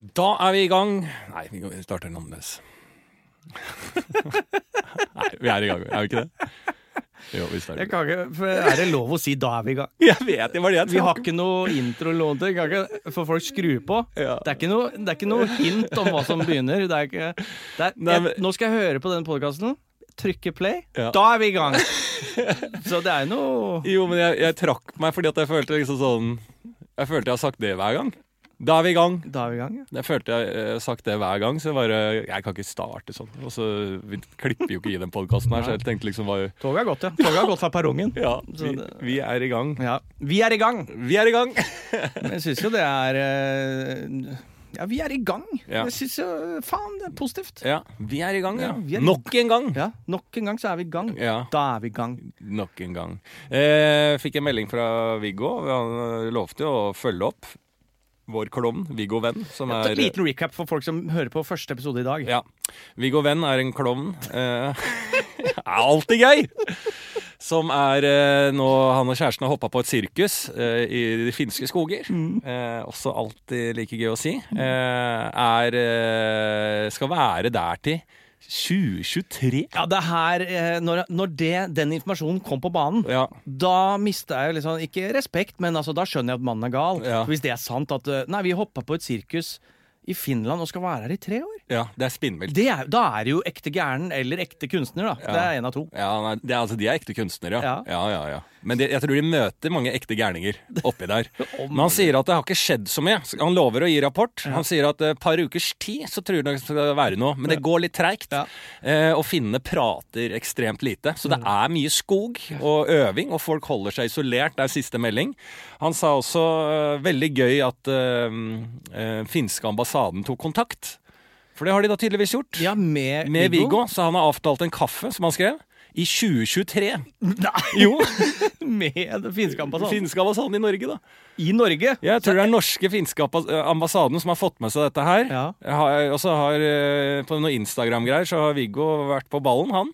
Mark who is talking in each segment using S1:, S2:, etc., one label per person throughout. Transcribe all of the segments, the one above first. S1: Da er vi i gang. Nei, vi går- vi starter den annerledes. Nei, vi er i gang, er vi ikke det? Jo, vi starter.
S2: Jeg kan ikke, for er det lov å si 'da er vi i gang'?
S1: Jeg vet, det var det jeg
S2: Vi har ikke noe introlån til, kan ikke for folk skrur på.
S1: Ja.
S2: Det, er ikke noe, det er ikke noe hint om hva som begynner. Det er ikke, det er,
S1: Nei, men-
S2: jeg, nå skal jeg høre på denne podkasten, trykke play,
S1: Ja.
S2: da er vi i gang! Så det er noe
S1: Jo, men jeg, jeg trakk meg fordi at jeg følte liksom sånn Jeg følte jeg har sagt det hver gang. Da er vi i gang.
S2: Da er vi i gang, ja.
S1: Jeg følte jeg har sagt det hver gang, så jeg bare Jeg kan ikke starte sånn. Og så vi klipper jo ikke i den podkasten her, så jeg tenkte liksom bare
S2: Toget har gått, ja. Toget har gått fra perrongen.
S1: Ja,
S2: Så
S1: vi,
S2: det-
S1: vi er i gang.
S2: Ja. Vi er i gang!
S1: Vi er i gang!
S2: Men Jeg syns jo det er eh, Ja, vi er i gang.
S1: Ja.
S2: Jeg syns jo Faen, det er positivt.
S1: Ja, vi er i gang, ja.
S2: Ja, vi er i-
S1: Nok en gang!
S2: Ja, Nok en gang så er vi i gang.
S1: Ja,
S2: Da er vi i gang.
S1: nok en gang. Eh, fikk en melding fra Viggo. Han eh, lovte jo å følge opp vår klovn, Viggo Venn, som
S2: Ta
S1: er eh,
S2: En liten recap for folk som hører på første episode i dag.
S1: Ja. Viggo Venn er en klovn. Eh, er alltid gøy! Som er eh, nå Han og kjæresten har hoppa på et sirkus eh, i de finske skoger. Eh, også alltid like gøy å si. Eh, er eh, Skal være der til 2023.
S2: Ja, det er her eh, Når, når det, den informasjonen kom på banen,
S1: Ja.
S2: da mista jeg jo liksom ikke respekt, men altså, da skjønner jeg at mannen er gal.
S1: Ja.
S2: Hvis det er sant at eh, Nei, vi hoppa på et sirkus i Finland og skal være her i tre år.
S1: ja det er spinnvilt.
S2: Det er, da er det jo ekte gæren eller ekte kunstner, da. Det er en av to.
S1: Ja, nei, det er, altså, de er ekte kunstnere, ja.
S2: Ja.
S1: ja, ja, ja. Men det, jeg tror de møter mange ekte gærninger oppi der. Men han sier at det har ikke skjedd så mye. Han lover å gi rapport. Han sier at eh, et par ukers tid så tror han det skal være noe, men det går litt treigt.
S2: Ja.
S1: Eh, og finnene prater ekstremt lite. Så det
S2: Mm.
S1: er mye skog og øving, og folk holder seg isolert. Det er siste melding. Han sa også eh, veldig gøy at eh, eh, finske ambassaden tok kontakt. For det har de da tydeligvis gjort.
S2: Ja, med,
S1: Med Viggo. Så han har avtalt en kaffe, som han skrev, i 2023.
S2: Nei,
S1: Jo,
S2: med den finske ambassaden.
S1: finske ambassaden i Norge, da.
S2: I Norge!
S1: Altså, Jeg tror det er den norske finske ambas- ambassaden som har fått med seg dette her.
S2: Ja.
S1: Har- Og så har eh, på noen Instagram-greier så har Viggo vært på ballen, han.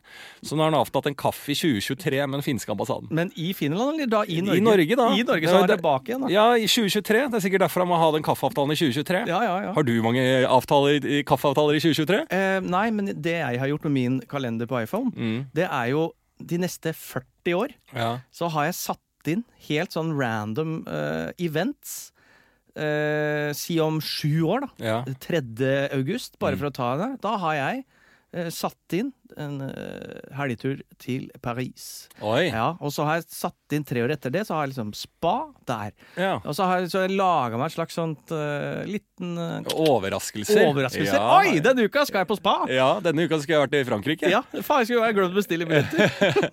S1: Så nå har han avtalt en kaffe i 2023 med den finske ambassaden.
S2: Men i Finland, eller da i Norge?
S1: I Norge, da.
S2: I Norge
S1: Det
S2: så
S1: var-
S2: er det bak igjen, da.
S1: Ja, i 2023. Det er sikkert derfor han må ha den kaffeavtalen i 2023.
S2: Ja, ja, ja.
S1: Har du mange avtaler, i- kaffeavtaler i 2023?
S2: Eh, nei, men det jeg har gjort med min kalender på iPhone,
S1: Mm.
S2: det er jo de neste 40 år
S1: Ja.
S2: så har jeg satt inn helt sånn random eh, events. eh, si om sju år, da.
S1: ja.
S2: 3. august,
S1: Mm.
S2: bare for å ta det. Da har jeg eh, satt inn en eh, helgetur til Paris.
S1: Oi. Ja.
S2: Ja, og så har jeg satt inn tre år etter det, så har jeg liksom spa der.
S1: ja.
S2: Og så har jeg, så har jeg laga meg et slags sånt eh, liten eh,
S1: Overraskelser.
S2: overraskelse.
S1: Ja.
S2: Oi, denne uka skal jeg på spa!
S1: Ja, denne uka skulle jeg vært i Frankrike.
S2: Ja, faen, jeg skulle bare glemt å bestille billetter.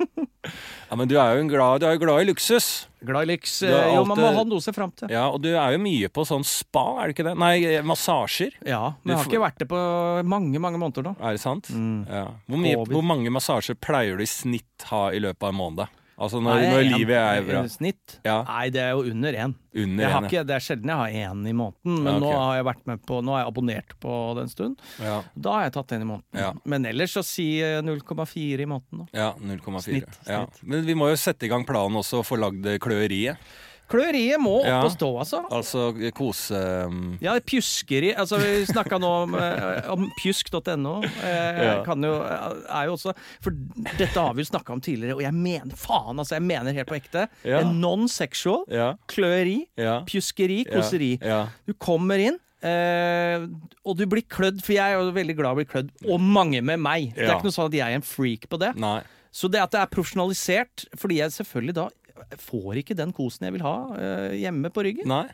S1: Ja, Men du er jo, en glad, du er jo glad i luksus.
S2: Glad i lyks.
S1: Du har
S2: Jo, man må
S1: alltid-
S2: ha noe å se fram til.
S1: Ja, Og du er jo mye på sånn spa, er du ikke det? Nei, eh, massasjer.
S2: Ja,
S1: Du
S2: men jeg har
S1: får-
S2: ikke vært det på mange, mange måneder nå.
S1: Er det sant? Ja. Hvor, mye,
S2: Mm. Covid.
S1: hvor mange massasjer pleier du i snitt ha i løpet av en måned? Altså når, når
S2: en-
S1: livet er bra.
S2: i Snitt?
S1: Ja.
S2: Nei, det er jo under én.
S1: Under
S2: Jeg har
S1: en, ja.
S2: ikke, det er sjelden jeg har én i måneden, men
S1: Ja,
S2: nå
S1: ok.
S2: har jeg vært med på Nå har jeg abonnert på det en stund.
S1: Ja,
S2: Da har jeg tatt en i måneden.
S1: Ja.
S2: Men ellers så si eh, 0,4 i måneden. Da.
S1: ja 0,4.
S2: Snitt,
S1: Ja.
S2: snitt.
S1: Men vi må jo sette i gang planen også og få lagd kløeriet.
S2: Kløeriet må opp
S1: Ja.
S2: og stå, altså.
S1: Altså eh, kose... um,
S2: Ja, pjuskeri Altså, vi snakka nå om, eh, om pjusk.no. Eh,
S1: Ja.
S2: Kan jo Er jo også For dette har vi jo snakka om tidligere, og jeg mener faen, altså. Jeg mener helt på ekte.
S1: Ja.
S2: En non-sexual.
S1: Ja.
S2: Kløeri.
S1: Ja.
S2: Pjuskeri. Koseri.
S1: Ja.
S2: Du kommer inn, eh, og du blir klødd, for jeg er jo veldig glad i å bli klødd, og mange med meg. Det er
S1: Ja.
S2: ikke noe sånn at jeg er en freak på det.
S1: Nei.
S2: Så det at det er profesjonalisert, fordi jeg selvfølgelig da får ikke den kosen jeg vil ha eh, hjemme på ryggen.
S1: Nei.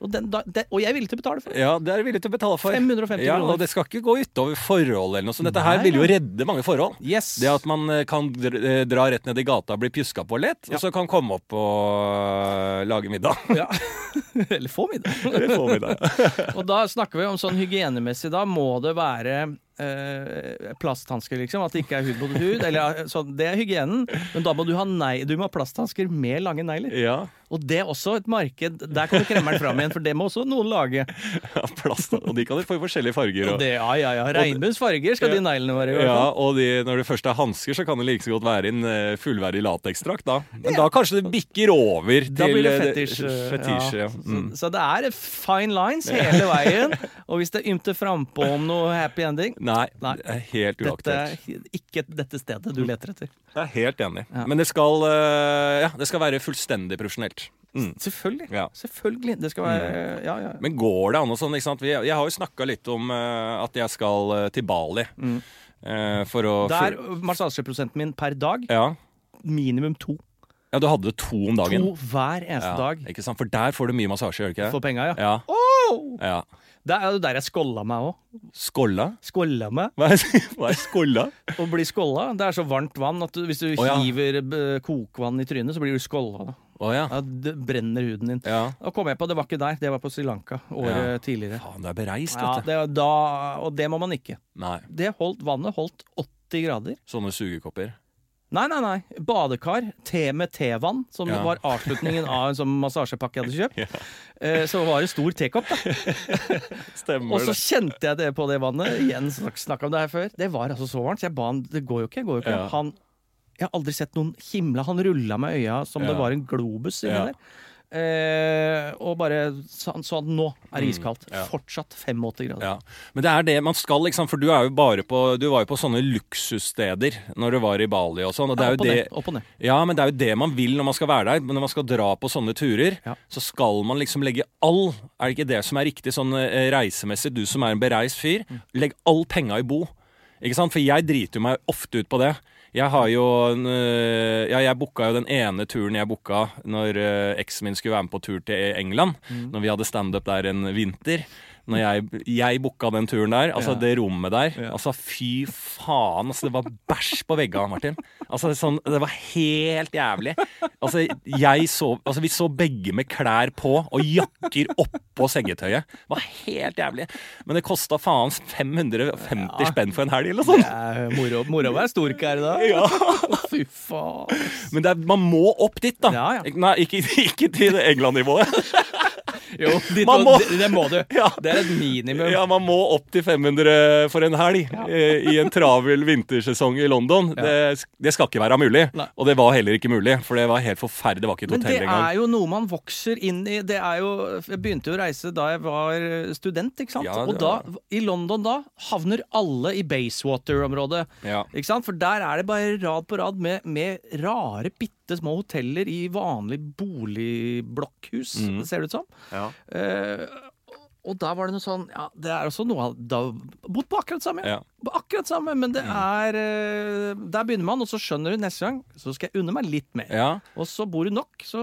S2: Og, den, da, det, og jeg er villig til å betale for det.
S1: Ja, det er jeg villig til å betale for.
S2: 550
S1: ja,
S2: kroner.
S1: Og det skal ikke gå utover forholdet eller noe sånt. Dette her
S2: Nei,
S1: vil jo
S2: nei.
S1: redde mange forhold.
S2: Yes.
S1: Det at man eh, kan dr- eh, dra rett ned i gata og bli pjuska på litt, og så kan komme opp og eh, lage middag.
S2: ja. Eller få middag.
S1: Eller få middag.
S2: Og da snakker vi om sånn hygienemessig, da må det være eh, plasthansker, liksom. At det ikke er hud mot hud. Eller, eh, sånn, det er hygienen, men da må du ha nei, du må ha plasthansker med lange negler.
S1: Ja.
S2: Og det er også et marked. Der kommer kremmeren fram igjen, for det må også noen lage.
S1: Ja, plast, og de kan dere få i forskjellige farger.
S2: Og
S1: Og,
S2: det, ja, ja, ja. Regnbuens farger skal de neglene være i. hvert
S1: ja,
S2: fall.
S1: og de, når det først er hansker, så kan det like så godt være en eh, fullverdig latekstrakt. Da. Men da kanskje det bikker over til
S2: Da blir det
S1: eh,
S2: fetisj. eh,
S1: fetisj, ja.
S2: Så,
S1: Mm.
S2: så det er fine lines hele veien. Og hvis det ymter frampå om noe happy ending
S1: Nei,
S2: Nei.
S1: det er helt
S2: dette
S1: uaktuelt. Mm.
S2: er ikke dette stedet du leter etter.
S1: Jeg er helt enig.
S2: Ja.
S1: Men det skal, eh, ja, det skal være fullstendig profesjonelt. Mm.
S2: Selvfølgelig.
S1: Ja. Mm.
S2: Selvfølgelig. Det skal være Ja, ja. ja.
S1: Men går det an og sånn? ikke sant? Vi- Jeg har jo snakka litt om eh, at jeg skal eh, til Bali. eh, for å
S2: Mm. Der massasjeprosenten min per dag
S1: ja.
S2: minimum to.
S1: ja, du hadde to om dagen.
S2: To hver eneste
S1: ja.
S2: dag
S1: Ikke sant? For der får du mye massasje, gjør du ikke
S2: for
S1: det?
S2: penga, ja.
S1: Ja.
S2: Åh!
S1: ja.
S2: Det er jo der jeg skålla meg òg.
S1: Skålla?
S2: Skålla meg.
S1: Hva er, hva er skålla?
S2: Å bli skålla Det er så varmt vann at du, hvis du
S1: Å, ja.
S2: hiver eh, kokvann i trynet, så blir du skålla. da.
S1: Å ja.
S2: Ja, det brenner huden din.
S1: ja.
S2: Da kom jeg på, det var ikke der, det var på Sri Lanka året tidligere.
S1: Faen, du er bereist,
S2: Ja,
S1: vet du.
S2: det, var da, og det må man ikke.
S1: Nei.
S2: Det holdt, vannet holdt 80 grader.
S1: Sånne sugekopper.
S2: Nei, nei, nei. Badekar te med tevann, som
S1: Ja.
S2: var avslutningen av en sånn massasjepakke jeg hadde kjøpt. Eh, Så var det stor tekopp. da. Og
S1: Stemmer
S2: så
S1: det.
S2: kjente jeg det på det vannet. Igjen snak- snakket om det her før. Det var altså så varmt, så jeg ba han Det går jo ikke, det går jo ikke.
S1: Ja.
S2: Han Jeg har aldri sett noen himla. Han rulla med øya som det
S1: Ja.
S2: var en globus inni
S1: Ja.
S2: der. Eh, og bare sa han sånn Nå er det iskaldt.
S1: Mm, ja.
S2: Fortsatt 85 grader.
S1: Ja. Men det er det man skal, liksom. For du, er jo bare på, du var jo på sånne luksussteder når du var i Bali og sånn. Og det er
S2: opp,
S1: jo
S2: og
S1: det,
S2: ned, opp og ned.
S1: Ja, men det er jo det man vil når man skal være der. Men når man skal dra på sånne turer,
S2: Ja.
S1: så skal man liksom legge all Er det ikke det som er riktig sånn eh, reisemessig, du som er en bereist fyr?
S2: Mm.
S1: Legg all penga i bo. Ikke sant? For jeg driter jo meg ofte ut på det. Jeg har jo en, øh, Ja, jeg booka jo den ene turen jeg booka når øh, eksen min skulle være med på tur til England.
S2: Mm.
S1: Når vi hadde standup der en vinter. Når jeg, jeg booka den turen der, altså
S2: Ja.
S1: det rommet der Altså fy faen, altså det var bæsj på veggene, Martin. Altså sånn, Det var helt jævlig. Altså, jeg så, altså vi så begge med klær på og jakker oppå sengetøyet. Det var helt jævlig. Men det kosta faen 550 spenn for en helg, eller noe sånt.
S2: Eh, Moro moro å være storkar da.
S1: Ja.
S2: Fy faen.
S1: Men det er, man må opp dit, da.
S2: Ja, ja.
S1: Ik- Nei, ikke, ikke til det England-nivået.
S2: Jo, dit
S1: Man
S2: må,
S1: må-
S2: det, det må du.
S1: Ja.
S2: Det er et minimum.
S1: Ja, man må opp til 500 for en helg eh, i en travel vintersesong i London. Det, det skal ikke være mulig.
S2: Nei.
S1: Og det var heller ikke mulig, for det var helt forferdelig. Det var ikke et
S2: Men det
S1: hotell engang.
S2: er jo noe man vokser inn i. Det er jo, jeg begynte jo å reise da jeg var eh, student, ikke sant.
S1: Ja,
S2: og
S1: det
S2: da,
S1: var-
S2: i London da, havner alle i Basewater-området.
S1: Ja.
S2: Ikke sant? For der er det bare rad på rad med, med rare, bitte små hoteller i vanlig boligblokkehus, ser det ut som.
S1: Ja.
S2: Eh, og da var det noe sånn ja, Det er også noe av Da bodd på akkurat samme,
S1: Ja. Mm.
S2: På akkurat samme, men det er eh, Der begynner man, og så skjønner du neste gang Så skal jeg unne meg litt mer.
S1: ja.
S2: Og så bor du nok, så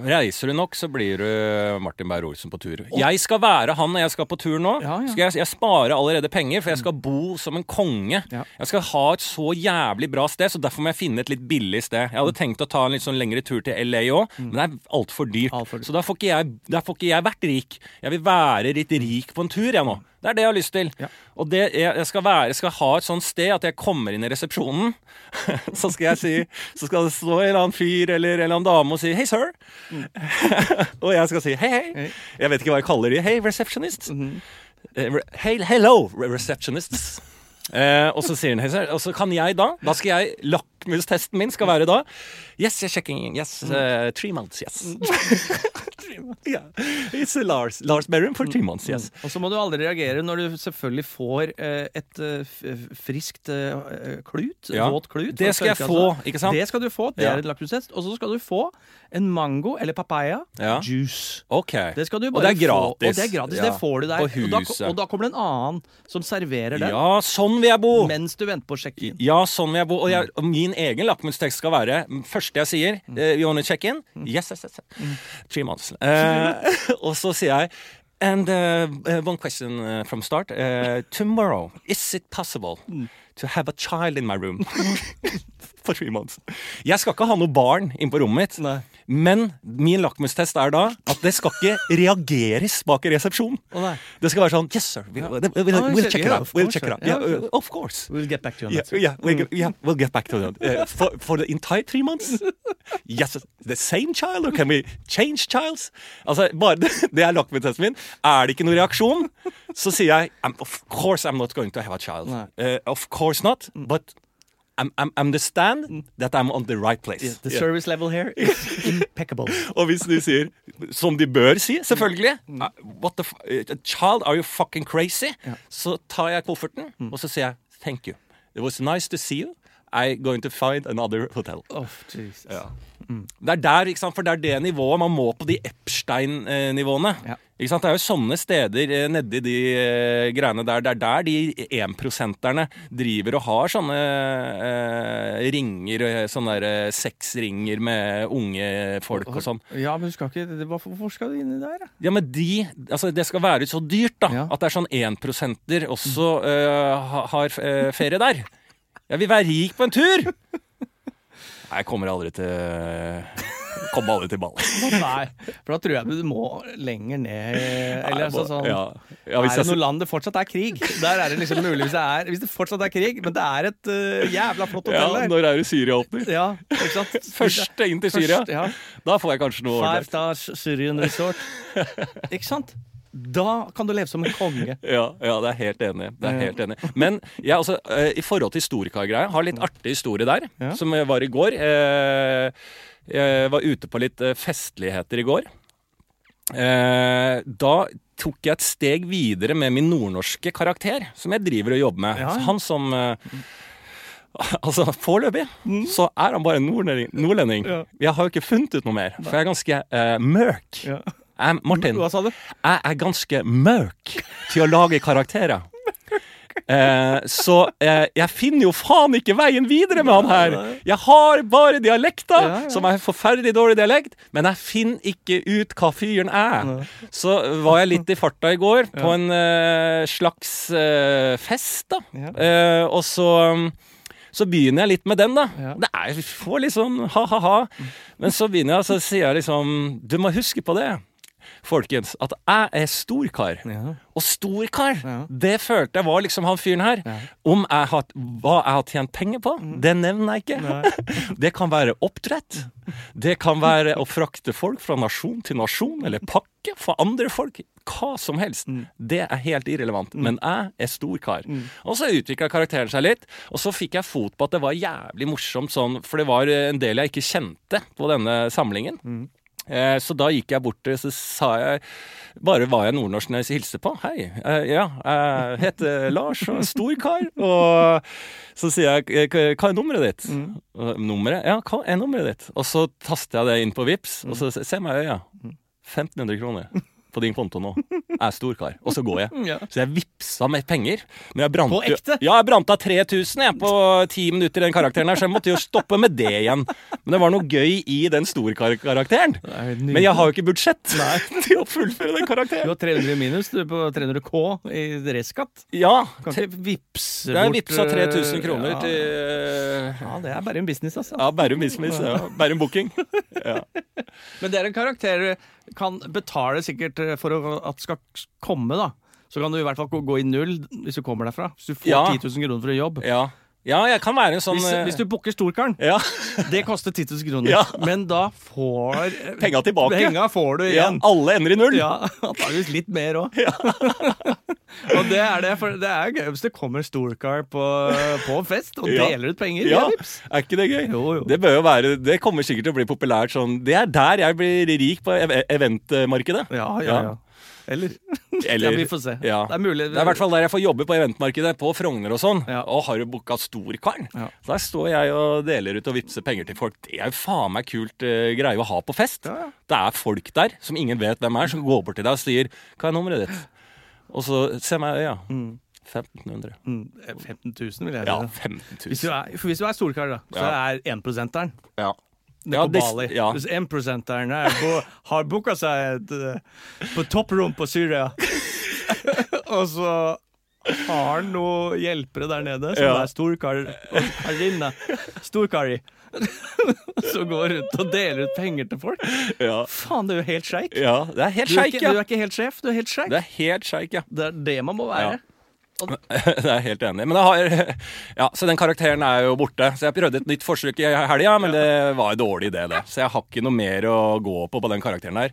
S1: Reiser du nok, så blir du Martin Beyer-Olsen på tur. Jeg skal være han når jeg skal på tur nå.
S2: Ja, ja.
S1: Skal jeg, jeg sparer allerede penger, for jeg skal bo som en konge.
S2: Ja.
S1: Jeg skal ha et så jævlig bra sted, så derfor må jeg finne et litt billig sted. Jeg
S2: Mm.
S1: hadde tenkt å ta en litt sånn lengre tur til LA òg, men det er altfor dyrt.
S2: Alt for dyrt.
S1: Så da får, ikke jeg, da får ikke jeg vært rik. Jeg vil være litt rik på en tur, jeg nå. Det er det jeg har lyst til.
S2: Mm. Ja.
S1: Og det, jeg, jeg skal, være, skal ha et sånt sted at jeg kommer inn i resepsjonen, så skal jeg si Så skal det stå en eller annen fyr eller en eller annen dame og si 'Hei, sir'. og jeg skal si 'Hei, hei'.
S2: Mm. Hei. Mm-hmm.
S1: Jeg vet ikke hva jeg kaller de. 'Hei, receptionist'. Eh, re- «Hei, hello, re- receptionists. Eh, og så sier hun «Hei, sir». Og så kan jeg da Da skal jeg Lakmustesten min skal være da Yes, you're checking Yes,
S2: Mm.
S1: eh, three months, yes. yeah. It's a Lars, Lars Berrum for three months, yes.
S2: Og så må du aldri reagere når du selvfølgelig får eh, et eh, f- friskt eh, klut.
S1: Ja.
S2: Våt klut.
S1: Det skal jeg få, ikke sant?
S2: Det skal du få, det
S1: Ja.
S2: er et lakmustest. Og så skal du få en mango eller papaya
S1: Ja.
S2: juice.
S1: Ok.
S2: Mm. Det skal du
S1: Og
S2: bare
S1: det er
S2: få.
S1: gratis.
S2: Og det er gratis,
S1: Ja.
S2: det får du der.
S1: På
S2: Og, da,
S1: huset.
S2: og da kommer det en annen som serverer den,
S1: Ja, sånn vil jeg bo!
S2: mens du venter på å sjekke inn.
S1: Ja, sånn vil jeg bo. Og, jeg, og min egen lakmustekst skal være mm, første jeg sier
S2: Mm.
S1: eh, You wanna check in? Yes, yes, yes. yes. Three months. Eh, og så sier jeg Eh,
S2: Mm.
S1: And eh, one question eh, from start. Eh, tomorrow, is it possible to have a child in my room for three months. Jeg skal ikke ha noe barn inn på rommet mitt,
S2: Nei.
S1: men min lakmustest er da at det skal ikke reageres bak i resepsjon.
S2: Å, nei.
S1: Det skal være sånn Yes, sir. We, we'll,
S2: Ja, Ah,
S1: we'll check it
S2: ja,
S1: out.
S2: of
S1: We'll
S2: course,
S1: check it out.
S2: ja.
S1: Yeah, uh, of course.
S2: We'll get back to you on
S1: Yeah,
S2: that.
S1: yeah, we'll, get- yeah, we'll get back to that. Uh, for, for the entire three months? Yes, the same child, or can we change childs? Altså, bare Det er lakmustesten min. Er det ikke noen reaksjon, så sier jeg I'm, Of course I'm not going to have a child.
S2: Nei. Mm.
S1: Uh, of course not, but I'm, I'm understand that I'm on the right place.
S2: Yeah, The
S1: Yeah.
S2: service level here is impeccable.
S1: Og hvis de sier, som de bør si, selvfølgelig "Ah, What the f eh, Child, are you fucking crazy? Så tar jeg kofferten, og så sier jeg thank you. It was nice to see you. I'm going to find another hotel. Mm.
S2: Oh, Jesus.
S1: Det er der, ikke sant? For det er det nivået man må på de Epstein-nivåene.
S2: Ja.
S1: Ikke sant? Det er jo sånne steder eh, nedi de eh, greiene der. Det er der de énprosenterne driver og har sånne eh, ringer, eh, sånne der, eh, sexringer med unge folk og sånn.
S2: Ja, men du skal ikke det- Hvorfor hvorfor skal du inni der? da?
S1: Ja, men de, altså det skal være så dyrt da
S2: Ja.
S1: At det er sånn 1%-er også øh, ha- har øh, ferie der Jeg vil være rik på en tur Nei, jeg kommer aldri til Kommer aldri til ball
S2: Nei, for da tror jeg du må lenger ned Eller altså sånn
S1: ja. Ja, hvis
S2: er det
S1: jeg,
S2: noe land det fortsatt er krig? Der er det liksom muligvis det er Hvis det fortsatt er krig, men det er et øh, jævla flott
S1: ja,
S2: hotell der.
S1: når er det Syria åpner?
S2: Ja, ikke sant?
S1: Første inn til Syria
S2: Først, ja.
S1: Da får jeg kanskje noe
S2: Five
S1: ordentlig
S2: Stars Syrian Resort. Ikke sant? Da kan du leve som en konge.
S1: ja, ja, det er helt enig. Det er helt enig. Men jeg, altså, eh, i forhold til historikergreia, har litt artig historie der,
S2: Ja.
S1: som jeg var i går. Eh, jeg var ute på litt eh, festligheter i går. Eh, da tok jeg et steg videre med min nordnorske karakter, som jeg driver og jobber med.
S2: Ja.
S1: Så Han som eh, Altså, foreløpig så er han bare en nordlending. nordlending.
S2: Mm. Ja.
S1: Jeg har jo ikke funnet ut noe mer, for jeg er ganske eh, mørk.
S2: Ja.
S1: Eh, Martin,
S2: Hva sa du?
S1: jeg er ganske mørk til å lage karakterer. Eh, så eh, jeg finner jo faen ikke veien videre med han her! Jeg har bare dialekta,
S2: Ja, ja.
S1: som er forferdelig dårlig dialekt, men jeg finner ikke ut hva fyren er. Så var jeg litt i farta i går, på en eh, slags eh, fest, da.
S2: Ja.
S1: Eh, og så um, så begynner jeg litt med den, da.
S2: Ja.
S1: Det er, vi får litt sånn ha-ha-ha. Men så begynner jeg, og så sier jeg liksom Du må huske på det, folkens, at jeg er storkar.
S2: Ja.
S1: Og storkar,
S2: Ja.
S1: det følte jeg var liksom han fyren her. Om jeg har, hva jeg har tjent penger på,
S2: Mm.
S1: det nevner jeg ikke. Det kan være oppdrett. Det kan være å frakte folk fra nasjon til nasjon, eller pakke for andre folk. Hva som helst.
S2: Mm.
S1: Det er helt irrelevant. Men jeg er stor kar. Og så utvikla karakteren seg litt, og så fikk jeg fot på at det var jævlig morsomt sånn, for det var eh, en del jeg ikke kjente på denne samlingen.
S2: Mm.
S1: Eh, Så da gikk jeg bort til Så sa jeg bare hva jeg nordnorsk når jeg hilste på. Hei. eh, Ja, jeg heter Lars og er stor kar. Og så sier jeg eh, hva hva er nummeret ditt? Og, Nummeret? Ja, hva er nummeret ditt? Og så taster jeg det inn på Vips og så se- se meg i øya. 1500 kroner på din konto nå. Jeg er stor kar. Og så går jeg.
S2: Mm, Ja.
S1: Så jeg vipsa med penger. Men jeg brant,
S2: På
S1: jo-
S2: ekte?
S1: Ja, jeg brant av 3000 jeg, på ti minutter i den karakteren her, så jeg måtte jo stoppe med det igjen. Men det var noe gøy i den storkar-karakteren.
S2: er helt nydelig.
S1: Men jeg har jo ikke budsjett til å fullføre den
S2: Du
S1: karakteren.
S2: har 300 minus du er på 300 K i restskatt.
S1: Ja,
S2: Kan
S1: te-
S2: ikke vipse
S1: det er
S2: bort
S1: vipsa
S2: øh,
S1: 3000 kroner
S2: ja.
S1: til
S2: Ja, det er bare en business, altså.
S1: ja, Bærum Business. Ja. Bærum Booking. Ja.
S2: Men det er en karakter du kan betale sikkert eh, for å- at det skal komme, da. Så kan du i hvert fall gå- gå i null hvis du kommer derfra. Hvis du får
S1: Ja.
S2: 10 000 kroner for en jobb.
S1: Ja. ja, jeg kan være en sånn
S2: Hvis,
S1: eh,
S2: hvis du booker Storkaren,
S1: Ja,
S2: det koster 10 000 kroner.
S1: Ja.
S2: Men da får eh,
S1: Penga tilbake.
S2: Penga får du
S1: ja,
S2: igjen.
S1: alle ender i null.
S2: Ja, antakeligvis litt mer òg. og det er det, for det er gøy hvis det kommer Storkar på, på fest og
S1: Ja.
S2: deler ut penger.
S1: Ja,
S2: via Vipps.
S1: er ikke det gøy?
S2: Jo, jo.
S1: Det bør jo være Det kommer sikkert til å bli populært sånn Det er der jeg blir rik på ev- eventmarkedet.
S2: ja, ja,
S1: Ja.
S2: ja. Eller,
S1: Eller-
S2: Ja, vi får se.
S1: Ja.
S2: Det er mulig.
S1: Det er i hvert fall der jeg får jobbe på eventmarkedet, på Frogner og sånn.
S2: Ja.
S1: Og har jo booka storkaren.
S2: Ja.
S1: Så Der står jeg og deler ut og vippser penger til folk. Det er jo faen meg kult eh, greie å ha på fest.
S2: Ja, ja.
S1: Det er folk der som ingen vet hvem er, som går bort til deg og sier 'Hva er nummeret ditt?' Og så se meg i øya. 1500.
S2: Mm, 15 000 vil jeg
S1: Ja,
S2: si.
S1: 15
S2: Hvis du
S1: 000.
S2: er, for hvis du er storkar, da, så er 1%-eren
S1: Ja.
S2: nede
S1: Ja,
S2: på
S1: det-
S2: Bali.
S1: ja.
S2: Hvis 1%-eren er på- har booka seg et, eh, på topprom på Syria, og så Har han noen hjelpere der nede som
S1: Ja.
S2: er storkar... Karinne. Storkari. Som går rundt og deler ut penger til folk.
S1: Ja.
S2: Faen, det er jo helt sjeik.
S1: ja. Det er helt
S2: Du, er
S1: sjeik,
S2: ikke- du
S1: ja.
S2: er ikke helt sjef, du er helt sjeik.
S1: Det er helt sjeik, ja.
S2: Det er det man må være.
S1: Ja. Det er jeg helt enig. i. Men jeg har, ja, så den karakteren er jo borte. Så jeg prøvde et nytt forsøk i helga, men det var en dårlig idé, det. Så jeg har ikke noe mer å gå på på den karakteren der.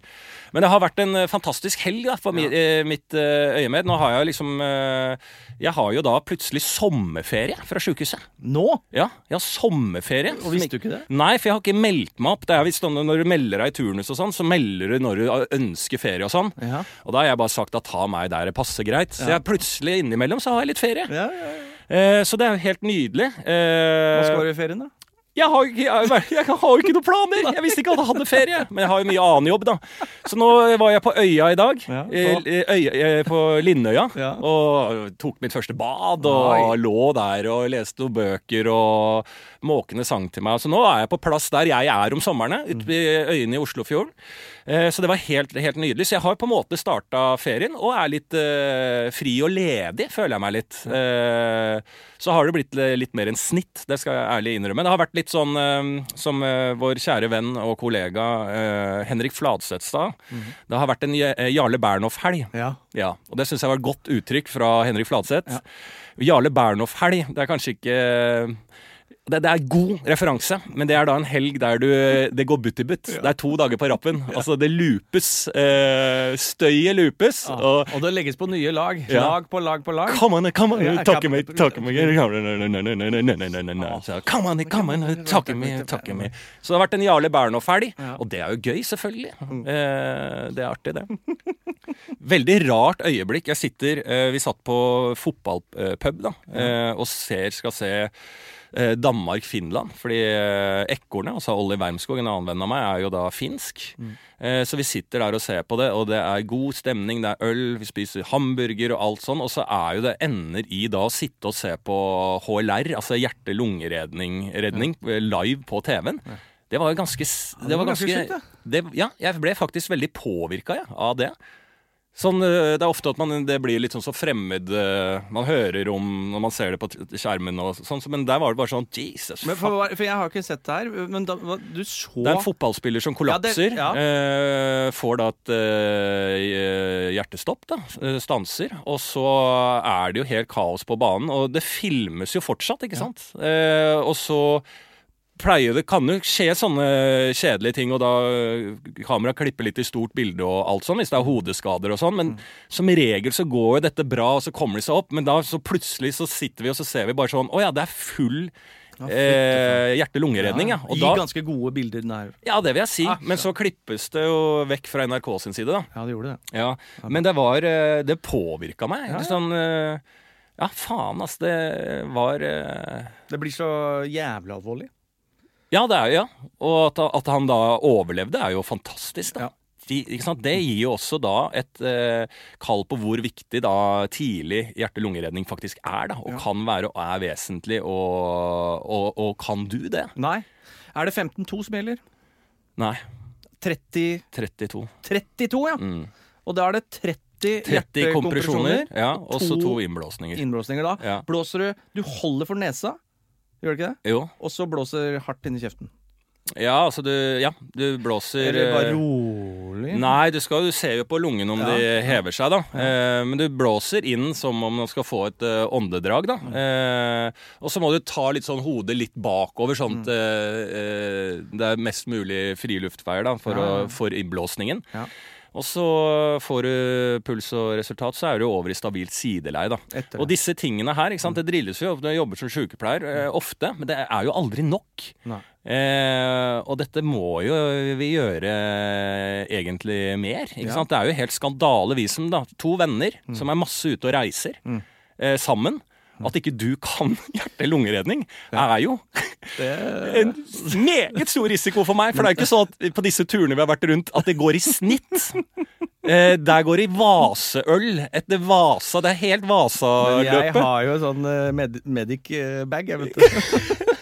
S1: Men det har vært en eh, fantastisk helg da, for mi, eh, mitt eh, øyemed. Nå har jeg liksom eh, Jeg har jo da plutselig sommerferie fra sjukehuset.
S2: Nå?
S1: Ja, jeg har sommerferie.
S2: Og visste du ikke det?
S1: Nei, for jeg har ikke meldt meg opp. Det er visst sånn Når du melder deg i turnus og sånn, så melder du når du ønsker ferie og sånn.
S2: Ja.
S1: Og da har jeg bare sagt at ta meg der det passer greit. Så jeg plutselig innimellom så har jeg litt ferie.
S2: Ja, ja, ja.
S1: Eh, så det er jo helt nydelig. Eh,
S2: Hva skal du i ferien, da?
S1: jeg har, jo ikke- jeg, har- jeg har jo ikke noen planer! Jeg visste ikke at jeg hadde ferie. Men jeg har jo mye annen jobb, da. Så nå var jeg på Øya i dag.
S2: Ja, på-
S1: eh, øya, eh, på Lindøya.
S2: Ja.
S1: Og tok mitt første bad og
S2: Oi.
S1: lå der og leste noen bøker og måkene sang til meg. Så nå er jeg på plass der jeg er om somrene, ute ved øyene i Oslofjorden. Eh, Så det var helt, helt nydelig. Så jeg har på en måte starta ferien og er litt eh, fri og ledig, føler jeg meg litt. Eh, så har det blitt li- litt mer enn snitt, det skal jeg ærlig innrømme. Det har vært litt sånn eh, som eh, vår kjære venn og kollega eh, Henrik Fladseth sa. Det har vært en Je- eh, Jarle Bernhoff-helg.
S2: Ja.
S1: Ja, og det syns jeg var et godt uttrykk fra Henrik Fladseth. Jarle Bernhoff-helg, det er kanskje ikke det, det er god referanse, men det er da en helg der du, det går butt i butt. Det er to dager på rappen. Altså, det loopes. Eh, støyet loopes. Og
S2: Og, det legges på nye lag.
S1: Ja.
S2: Lag på lag på lag.
S1: Come on, come on,
S2: Ja,
S1: talk
S2: kap-
S1: me, talk me Så, Come on, come on, talk me, talk me Så det har vært en Jarle Bernhoff-helg, og det er jo gøy, selvfølgelig.
S2: Mm.
S1: Eh, Det er artig, det. Veldig rart øyeblikk. Jeg sitter, eh, Vi satt på fotballpub da, eh, og ser, skal se eh, Danmark-Finland. Fordi eh, ekornet, altså Olli Wermskog, en annen venn av meg, er jo da finsk.
S2: Mm.
S1: Eh, Så vi sitter der og ser på det, og det er god stemning, det er øl, vi spiser hamburger og alt sånn. Og så er jo det ender i da å sitte og se på HLR, altså hjerte-lungeredning, redning, eh, live på TV-en. Det var jo ganske s-
S2: det var ganske sjukt, det.
S1: det, ja, jeg ble faktisk veldig påvirka jeg, av det. Sånn, øh, det er ofte at man, det blir litt sånn så fremmed øh, man hører om når man ser det på t- skjermen, og sånn, så- men der var det bare sånn Jesus,
S2: Men for, for jeg har ikke sett det her, men da, hva- du så
S1: faen. Det er en fotballspiller som kollapser.
S2: Ja,
S1: øh,
S2: det-
S1: får da et øh, hjertestopp, da. øh, Stanser. Og så er det jo helt kaos på banen. Og det filmes jo fortsatt, ikke sant? Eh, og så pleier det kan jo skje sånne kjedelige ting, og da øh, kamera klipper litt i stort bilde og alt sånn, hvis det er hodeskader og sånn, men
S2: Mm.
S1: som regel så går jo dette bra, og så kommer de seg opp, men da så plutselig så sitter vi og så ser vi bare sånn, å ja, det er full eh, hjerte-lungeredning, ja. Og
S2: Gi
S1: da,
S2: ganske gode bilder nær.
S1: ja, det vil jeg si,
S2: Ah,
S1: men så klippes det jo vekk fra NRK sin side da.
S2: Ja, det gjorde det.
S1: Ja, men det var eh, Det påvirka meg.
S2: Ja,
S1: Ja,
S2: ja.
S1: Sånn, eh, ja faen, ass. Det var eh,
S2: Det blir så jævlig alvorlig.
S1: Ja, det er jo ja. Og at, at han da overlevde, er jo fantastisk. da.
S2: Ja.
S1: De, ikke sant? Det gir jo også da et eh, kall på hvor viktig da tidlig hjerte-lungeredning faktisk er. da, Og
S2: Ja.
S1: kan være og er vesentlig. Og, og, og kan du det?
S2: Nei. Er det 15-2 som gjelder?
S1: Nei.
S2: 30
S1: 32.
S2: 32, ja.
S1: Mm.
S2: Og da er det 30,
S1: 30 kompresjoner,
S2: hjertekompresjoner.
S1: ja, og så to
S2: to
S1: innblåsninger.
S2: Innblåsninger da.
S1: Ja.
S2: Blåser du Du holder for nesa, gjør du ikke det?
S1: Jo.
S2: Og så blåser hardt inn i kjeften.
S1: Ja, altså du Ja, du blåser
S2: Eller
S1: eh,
S2: bare rolig.
S1: Nei, du, skal, du ser jo på lungene om
S2: Ja.
S1: de hever seg, da. Eh, men du blåser inn som om man skal få et eh, åndedrag,
S2: Mm.
S1: da. Eh, og så må du ta litt sånn hodet litt bakover,
S2: Mm.
S1: sånn at eh, eh, det er mest mulig frie luftveier da, for,
S2: Ja, ja.
S1: Å, for innblåsningen.
S2: Ja.
S1: Og så får du puls og resultat, så er du over i stabilt sideleie, da.
S2: Etter
S1: Og
S2: det. Mm.
S1: disse tingene her, ikke sant, det drilles jo, du jobber som sykepleier eh, ofte, men det er jo aldri nok.
S2: Nei.
S1: Eh, og dette må jo vi gjøre eh, egentlig mer. Ikke
S2: Ja. Mm.
S1: sant? Det er jo helt skandale, vi som da, to venner som er masse ute og reiser eh, sammen. At ikke du kan hjerte-lungeredning, er jo
S2: Det-
S1: en meget stor risiko for meg. For det er jo ikke sånn at på disse turene vi har vært rundt, at det går i snitt. Eh, der går det i vaseøl etter vasa. Det er helt
S2: Men jeg
S1: Vasaløpet.
S2: har jo sånn eh, med, medic-bag, jeg, vet du.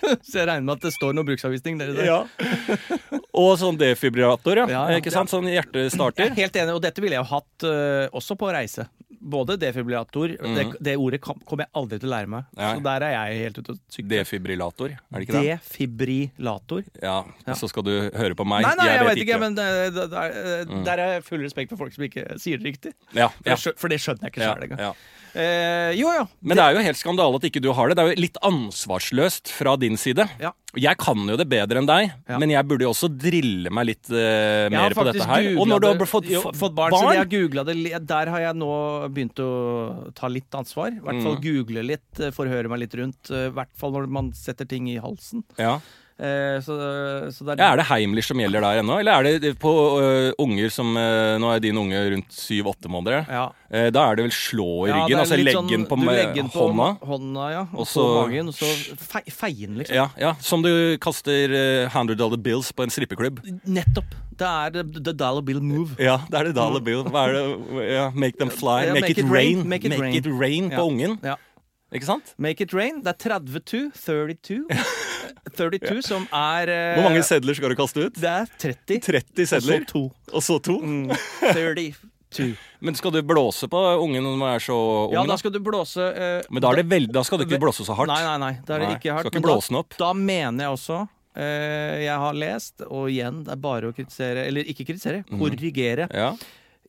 S2: Så jeg regner med at det står noe bruksanvisning dere der.
S1: Ja. Og sånn defibrillator, ja.
S2: Ja, ja.
S1: Ikke sant? Sånn
S2: Jeg
S1: hjertestarter.
S2: er helt enig, og dette ville jeg jo hatt eh, også på reise. både defibrillator det, det ordet kom- kommer jeg aldri til å lære meg.
S1: Nei.
S2: Så der er jeg helt ute å sykle.
S1: Defibrillator, er det ikke det?
S2: Defibrillator?
S1: Ja. Så skal du høre på meg.
S2: Nei, nei, jeg, vet ikke, men eh, det, det, det, er- der er jeg full respekt for folk som ikke sier det riktig.
S1: ja,
S2: For,
S1: ja,
S2: det, skjø- for det skjønner jeg ikke
S1: ja,
S2: sjøl engang.
S1: ja.
S2: Eh, jo, ja.
S1: Men det er jo helt skandale at ikke du har det. Det er jo litt ansvarsløst fra din side.
S2: Ja.
S1: Jeg kan jo det bedre enn deg,
S2: Ja.
S1: men jeg burde jo også drille meg litt eh,
S2: Jeg har
S1: mer på
S2: faktisk
S1: dette her. Og
S2: googlet
S1: når du har
S2: det-
S1: fått,
S2: jo,
S1: fått
S2: barn, så jeg har googlet det, li- der har jeg nå begynt å ta litt ansvar. I hvert
S1: Mm.
S2: fall google litt, eh, forhøre meg litt rundt. eh, I hvert fall når man setter ting i halsen.
S1: ja.
S2: Eh, så, så det er,
S1: Ja, Er det Heimlich som gjelder der ennå, eller er det på ø, unger som ø, Nå er din unge rundt syv-åtte måneder.
S2: Ja.
S1: Eh, da er det vel slå i
S2: Ja,
S1: ryggen,
S2: det er
S1: altså
S2: litt
S1: legge
S2: sånn-
S1: den på,
S2: du
S1: med
S2: legger den på
S1: hånda.
S2: hånda, ja, og
S1: Og
S2: så
S1: så-
S2: magen, og så fe, feien, liksom.
S1: Ja, ja, Som du kaster eh, hundred dollar bills på en strippeklubb.
S2: Nettopp. Det er the- the dollar bill move.
S1: Ja, det er det dollar bill. Hva er det? Ja, make them fly.
S2: Mm. Ja,
S1: Make, it, rain.
S2: Make it rain.
S1: på
S2: Ja.
S1: ungen.
S2: Ja.
S1: Ikke sant?
S2: Make it rain. Det er 32, 32, 32 som er eh,
S1: Hvor mange sedler skal du kaste ut?
S2: Det er 30.
S1: 30 sedler.
S2: Og så to. Mm.
S1: Og så to.
S2: 32.
S1: Men skal du blåse på ungen når man er så ung?
S2: Ja, da
S1: da?
S2: skal du blåse eh,
S1: Men da, er det veld... da skal du ikke blåse så hardt.
S2: Nei, nei, nei. Da er det
S1: Nei,
S2: ikke hardt.
S1: skal ikke
S2: men
S1: blåse den opp.
S2: Da, da mener jeg også eh, Jeg har lest, og igjen, det er bare å kritisere Eller ikke kritisere,
S1: Mhm.
S2: korrigere.
S1: Ja,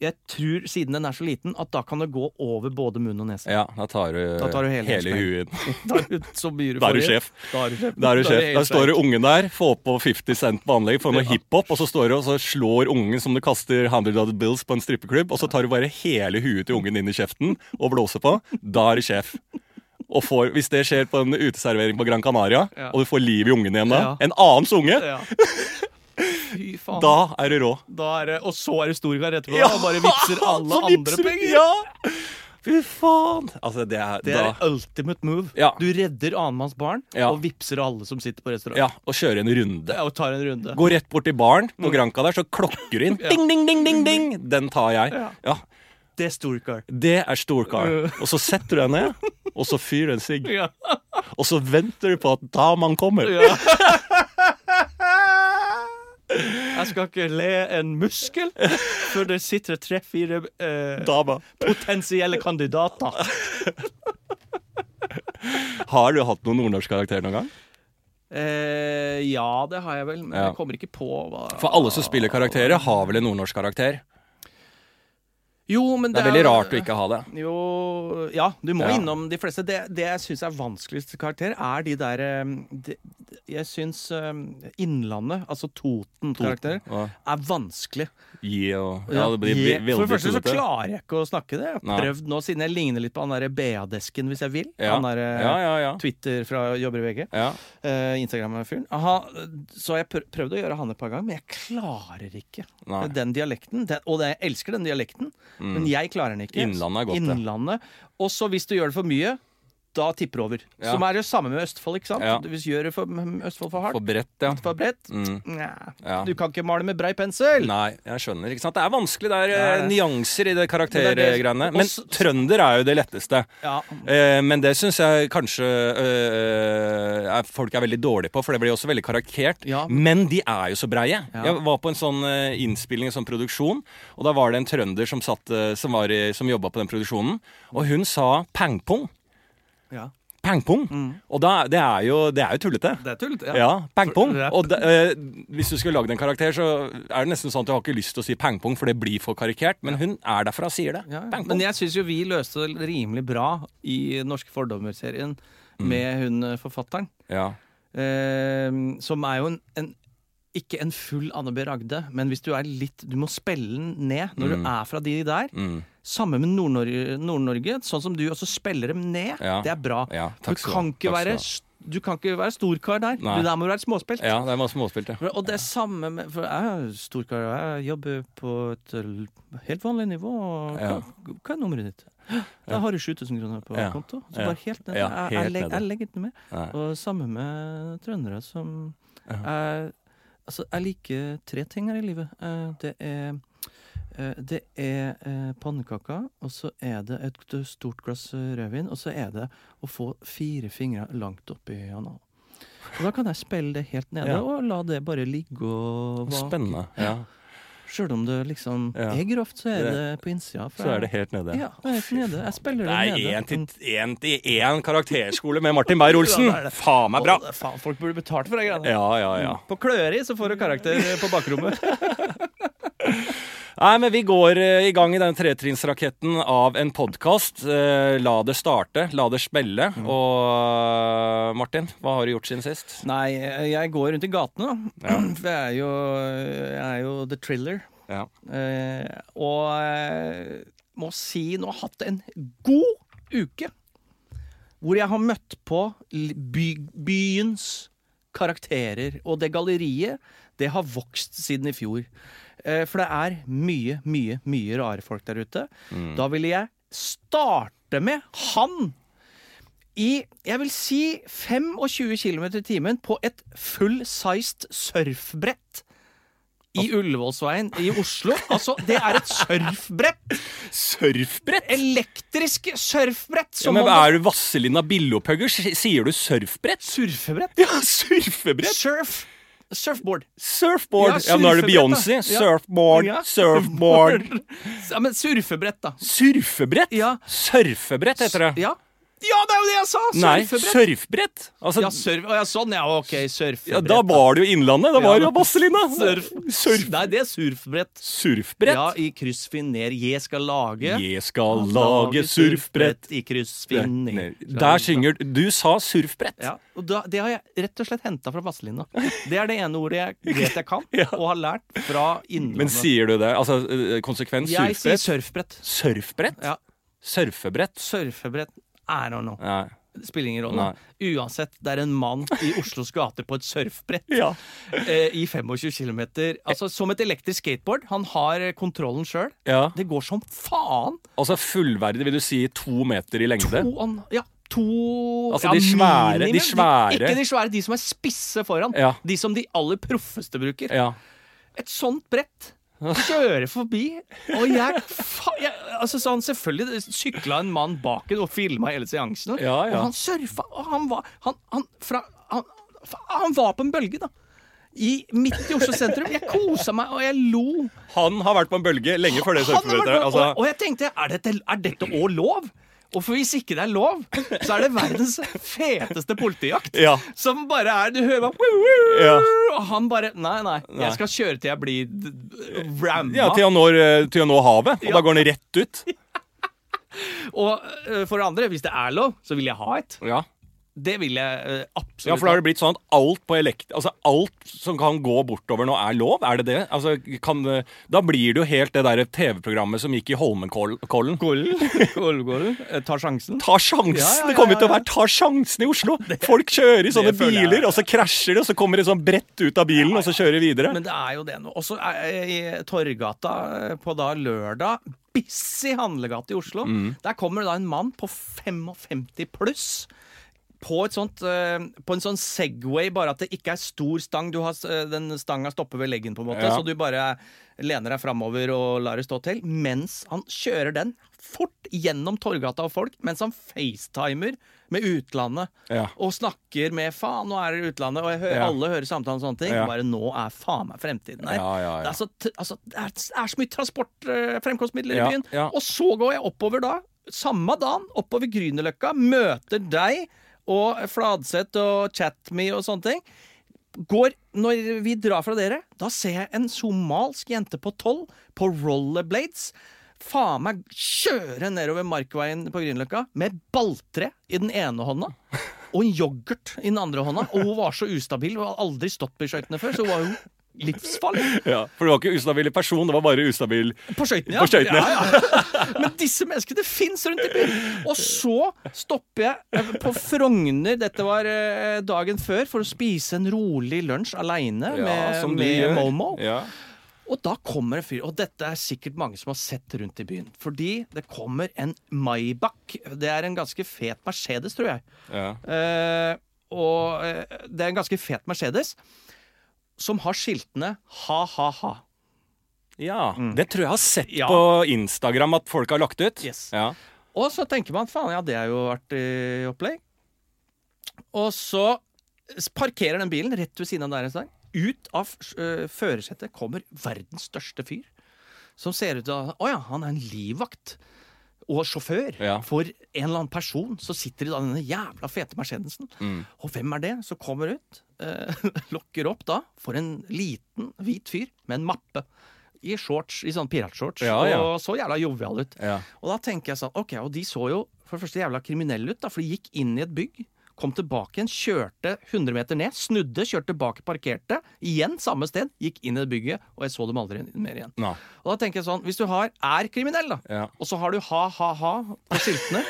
S2: Jeg tror, siden den er så liten, at da kan det gå over både munn og nese.
S1: ja, da tar du,
S2: Da tar du hele
S1: hele
S2: spengen.
S1: huet.
S2: Da er du- så mye
S1: Da er du
S2: får i.
S1: sjef.
S2: Da er du sjef.
S1: Da er du
S2: Da er
S1: sjef.
S2: helt
S1: Der står
S2: sjef.
S1: det ungen der, får på 50 cent på anlegget, får noe hiphop, og så står du og så slår ungen som du kaster 100 dollar bills på en strippeklubb, og så tar du bare hele huet til ungen inn i kjeften og blåser på. Da er du sjef. Og får, hvis det skjer på en uteservering på Gran Canaria,
S2: Ja.
S1: og du får liv i ungen igjen da,
S2: Ja.
S1: en annens unge,
S2: Ja. Fy faen.
S1: da er du rå.
S2: Da er det, og så er det storkar etterpå,
S1: Ja,
S2: og bare vipser alle
S1: så
S2: andre
S1: vipser du-
S2: penger.
S1: Ja! Fy faen! Altså, det er,
S2: Det
S1: da,
S2: er ultimate move.
S1: Ja.
S2: Du redder annenmanns barn
S1: Ja.
S2: og vipser alle som sitter på restaurant.
S1: ja, å kjøre en runde.
S2: Ja, Og tar en runde.
S1: Gå rett bort til baren
S2: Mm.
S1: på Granca der, så klokker du inn. Ding, ding, ding, ding, ding! Den tar jeg.
S2: Ja.
S1: Ja,
S2: Det er storkar.
S1: Det er storkar. Og så setter du deg ned, og så fyrer du en sigg.
S2: Ja.
S1: Og så venter du på at damaen kommer.
S2: Jeg skal ikke le en muskel før det sitter tre-fire eh,
S1: Dama.
S2: potensielle kandidater.
S1: Har du hatt noen nordnorskkarakter noen gang?
S2: Eh, ja, det har jeg vel, men
S1: Ja.
S2: jeg kommer ikke på hva
S1: For alle som spiller karakterer, har vel en nordnorskkarakter.
S2: Jo, men
S1: Det
S2: det,
S1: er veldig rart å ikke ha det.
S2: Jo Ja, du må
S1: Ja.
S2: innom de fleste. Det, det jeg syns er vanskeligst karakter, er de der eh, de, Jeg syns eh, Innlandet, altså Toten-karakterer,
S1: Ja.
S2: er vanskelig.
S1: Gi og Ja, det blir
S2: Jeg-
S1: ve- veldig
S2: For det første så
S1: tullete.
S2: klarer jeg ikke å snakke det. Jeg
S1: Nei.
S2: har prøvd nå, siden jeg ligner litt på han derre BA-desken, hvis jeg vil.
S1: ja.
S2: Han derre
S1: ja, ja, ja.
S2: Twitter fra jobber i VG.
S1: ja.
S2: eh, Instagram-fyren. Han- Så har jeg prøv- prøvd å gjøre han et par ganger, men jeg klarer ikke
S1: Nei. Mm.
S2: den dialekten. Den, og det, jeg elsker den dialekten, men jeg klarer den ikke.
S1: Innlandet er godt, det.
S2: Innlandet. Og så hvis du gjør det for mye, da tipper det over.
S1: Ja.
S2: Som er det samme med Østfold, ikke sant?
S1: Ja.
S2: Hvis du gjør det for m- Østfold for hardt,
S1: For bredt, ja.
S2: for bredt
S1: Mm.
S2: nja,
S1: Ja.
S2: Du kan ikke male med brei pensel!
S1: Nei, jeg skjønner. ikke sant? Det er vanskelig. Det er
S2: Det er
S1: eh,
S2: det.
S1: nyanser i det
S2: Men det er det-
S1: karaktergreiene. Men
S2: Også-
S1: trønder er jo det letteste.
S2: Ja.
S1: Eh, men det syns jeg kanskje eh, er, folk er veldig dårlige på, for det blir også veldig karaktert.
S2: Ja.
S1: Men de er jo så breie.
S2: Ja.
S1: Jeg var på en sånn eh, innspilling, en sånn produksjon, og da var det en trønder som, satt, eh, som, var i- som jobba på den produksjonen, og hun sa pangpung.
S2: ja.
S1: Pangpung.
S2: Mm.
S1: Og da, det, er jo, det er jo tullete.
S2: Det er tullete.
S1: Ja, pangpong.
S2: For-
S1: Og da- eh, hvis du skulle lagd en karakter, så er det nesten sånn at du har ikke lyst til å si pangpong, for det blir for karikert. Men hun er derfra og sier det.
S2: Ja, ja.
S1: Pangpong.
S2: Men jeg syns jo vi løste det rimelig bra i Norske fordommer-serien
S1: Mm.
S2: med hun eh, forfatteren.
S1: ja.
S2: Eh, som er jo en, en ikke en full Anne B. Ragde, men hvis du er litt Du må spille den ned når du er fra de der.
S1: Mm.
S2: Samme med Nord-Norge. Nord-Norge, sånn som du også spiller dem ned.
S1: Ja.
S2: Det er bra.
S1: Ja,
S2: du,
S1: takk skal
S2: kan
S1: du
S2: ikke
S1: ha. Takk
S2: være,
S1: skal
S2: st- du kan ikke være storkar der.
S1: Nei.
S2: Du der må du være småspilt.
S1: ja, det er masse småspilt, ja.
S2: Og det samme med For jeg er jo storkar, og jeg jobber på et l- helt vanlig nivå. og Hva,
S1: Ja.
S2: hva er nummeret ditt? Da har du 7000 kroner på
S1: Ja.
S2: konto. Så
S1: Ja.
S2: bare helt ned.
S1: Ja,
S2: jeg,
S1: helt
S2: jeg, legger,
S1: nede.
S2: jeg legger ikke noe mer.
S1: Nei.
S2: Og samme med trøndere som er, Altså, jeg liker tre ting her i livet. Eh, Det er eh, det er eh, pannekaker, og så er det et stort glass eh, rødvin, og så er det å få fire fingre langt oppi analen. Og da kan jeg spille det helt nede,
S1: Ja.
S2: og la det bare ligge og vake.
S1: Spennende. Ja.
S2: Sjøl om det liksom
S1: Ja.
S2: er grovt, så er
S1: Det-
S2: det på innsida. for
S1: Så er
S2: jeg-
S1: det helt nede.
S2: Ja, jeg er helt nede. Jeg spiller
S1: Det
S2: det
S1: er én
S2: nede. Mm.
S1: til én til én karakterskole med Martin Beyer-Olsen! Faen meg bra!
S2: Å, faen, folk burde betalt for de greiene.
S1: Ja, ja, ja.
S2: På Kløri så får du karakter
S1: Mm.
S2: eh, på bakrommet.
S1: Nei, men vi går eh, i gang i den tretrinnsraketten av en podkast. la det starte, la det smelle. Og eh, Martin, hva har du gjort siden sist?
S2: Nei, jeg går rundt i gatene, da.
S1: Ja.
S2: For jeg er jo, jeg er jo the thriller.
S1: Ja.
S2: Eh, og eh, må si nå har jeg hatt en god uke. Hvor jeg har møtt på l- by, byens karakterer. Og det galleriet, det har vokst siden i fjor. Eh, for det er mye, mye, mye rare folk der ute. Da ville jeg starte med han i jeg vil si 25 km i timen på et full-sized surfbrett. I Ullevålsveien i Oslo. Altså, det er et surfbrett!
S1: Surfbrett?
S2: Elektrisk surfbrett!
S1: Ja,
S2: Som
S1: men
S2: man
S1: Er du Vasselina Billopphugger? S- Sier du surfbrett?
S2: Surfebrett?
S1: Ja, surfebrett!
S2: Surf! Surfboard.
S1: Surfboard! Ja,
S2: Ja,
S1: nå er det
S2: surfebrett, da.
S1: Beyoncé.
S2: Ja.
S1: Surfboard,
S2: Ja.
S1: surfboard.
S2: Ja, men surfebrett, da.
S1: Surfebrett?
S2: Ja.
S1: Surfebrett heter det.
S2: Ja. ja, det er jo det jeg sa!
S1: Nei,
S2: Surfebrett.
S1: surfbrett. Altså,
S2: Ja, surf... Å, ja, sånn, ja. Ok,
S1: ja,
S2: surfebrett.
S1: da var det jo Innlandet. Da var det jo
S2: Ja.
S1: Vasselina.
S2: Surf.
S1: Surf.
S2: Nei, det er surfbrett.
S1: Surfbrett.
S2: Ja, i kryssfiner. Jeg skal lage
S1: Jeg skal lage surfbrett
S2: i kryssfiner.
S1: Der synger du Du sa surfbrett.
S2: ja, og da, Det har jeg rett og slett henta fra Vazelina. Det er det ene ordet jeg vet jeg kan, og har lært fra
S1: Men
S2: Innlandet.
S1: sier du det? Altså eh, konsekvens
S2: Jeg sier
S1: surfbrett?
S2: surfbrett.
S1: Surfbrett?
S2: Ja,
S1: Surfebrett?
S2: surfebrett I don't know.
S1: Nei.
S2: Det spiller ingen rolle. Uansett, det er en mann i Oslos gater på et surfbrett
S1: Ja.
S2: eh, i 25 km. Altså, som et elektrisk skateboard. Han har eh, kontrollen sjøl.
S1: ja.
S2: Det går som faen!
S1: Altså fullverdig, vil du si to meter i lengde?
S2: To an... Ja, to
S1: Altså,
S2: ja,
S1: de svære- de
S2: minimum.
S1: svære-
S2: Ikke de svære, de som er spisse foran.
S1: Ja.
S2: De som de aller proffeste bruker.
S1: Ja.
S2: Et sånt brett kjører forbi, og jeg, fa jeg altså, sånn, Selvfølgelig sykla en mann bak en og filma hele seansen,
S1: Ja, ja.
S2: og han surfa, og han var Han, han, fra, han, fa- han var på en bølge, da. I, midt i Oslo sentrum. Jeg kosa meg, og jeg lo.
S1: Han har vært på en bølge lenge før det
S2: Han
S1: surfebrettet.
S2: var- og,
S1: Altså,
S2: og jeg tenkte, er dette, er dette også lov? Og for hvis ikke det er lov, så er det verdens feteste politijakt.
S1: Ja.
S2: Som bare er Du hører bare
S1: Ja.
S2: Og han bare Nei, nei, jeg skal kjøre til jeg blir d- d- ramma.
S1: ja, til han når, eh, til han når havet, og da går han rett ut.
S2: og øh, for det andre, hvis det er lov, så vil jeg ha et.
S1: Ja.
S2: Det vil jeg øh, absolutt.
S1: Ja, for da har det blitt sånn at alt på elekt... Altså, alt som kan gå bortover nå, er lov? Er det det? Altså, kan, eh, da blir det jo helt det derre TV-programmet som gikk i Holmenkollen.
S2: Ålgården Eh, tar sjansen.
S1: Ta sjansen!
S2: Ja, ja, ja,
S1: Det kommer jo til å
S2: ja, ja.
S1: være Ta sjansen i Oslo! Folk kjører i sånne
S2: det føler jeg.
S1: biler, og så krasjer de, og så kommer det sånn bredt ut av bilen, og så kjører de videre.
S2: Men det er jo det nå. Også eh, i Torgata eh, på da lørdag, busy handlegate i Oslo,
S1: Mm.
S2: der kommer det da en mann på 55 pluss. På, et sånt, eh, på en sånn Segway, bare at det ikke er stor stang. Du har, s- eh, den stanga stopper ved leggen, på en måte,
S1: Ja.
S2: så du bare lener deg framover og lar det stå til. Mens han kjører den fort gjennom Torgata og folk, mens han facetimer med utlandet.
S1: Ja.
S2: Og snakker med 'faen, nå er det utlandet', og jeg hører,
S1: Ja.
S2: alle hører samtalen og sånne ting.
S1: Ja.
S2: Bare nå er faen meg fremtiden her.
S1: Ja, ja, ja.
S2: Det, er så, t- altså, det er, er så mye transport, eh, fremkomstmidler
S1: Ja,
S2: i byen.
S1: ja.
S2: Og så går jeg oppover da, samme dagen, oppover Grünerløkka, møter deg og Fladseth og Chatme og sånne ting. Går, når vi drar fra dere, da ser jeg en somalsk jente på tolv på rollerblades. Faen meg kjøre nedover Markveien på Grünerløkka med balltre i den ene hånda og en yoghurt i den andre hånda. Og hun var så ustabil, hun hadde aldri stått på skøytene før, så hun var jo livsfarlig.
S1: Ja, for du var ikke ustabil i person, det var bare ustabil
S2: På skøytene, ja.
S1: På skøytene.
S2: ja, ja. Men disse menneskene fins rundt i byen! Og så stopper jeg eh, på Frogner, dette var eh, dagen før, for å spise en rolig lunsj aleine med, med Momo.
S1: Ja.
S2: Og da kommer en fyr, og dette er sikkert mange som har sett rundt i byen. Fordi det kommer en Maybach. Det er en ganske fet Mercedes, tror jeg.
S1: Ja.
S2: Eh, og eh, det er en ganske fet Mercedes som har skiltene ha-ha-ha.
S1: ja. Det tror jeg har sett
S2: Mm. Ja.
S1: på Instagram at folk har lagt ut.
S2: Yes.
S1: Ja.
S2: Og så tenker man faen, ja, det er jo artig opplegg. Og så parkerer den bilen rett ved siden av der en stang. Ut av eh, førersetet kommer verdens største fyr. Som ser ut til å Å ja, han er en livvakt. Og sjåfør
S1: Ja.
S2: for en eller annen person. Så sitter de da i denne jævla fete Mercedesen.
S1: Mm.
S2: Og hvem er det som kommer ut? Eh, lokker opp da for en liten, hvit fyr med en mappe. I shorts, i sånn piratshorts.
S1: Ja, ja.
S2: Og så jævla jovial ut.
S1: Ja.
S2: Og da tenker jeg sånn, ok, og de så jo for det første jævla kriminelle ut, da, for de gikk inn i et bygg, kom tilbake igjen, kjørte 100 meter ned, snudde, kjørte tilbake, parkerte, igjen samme sted, gikk inn i det bygget, og jeg så dem aldri mer igjen.
S1: Nei.
S2: Og da tenker jeg sånn, hvis du har, er kriminell da,
S1: Ja.
S2: og så har du ha-ha-ha på skiltene,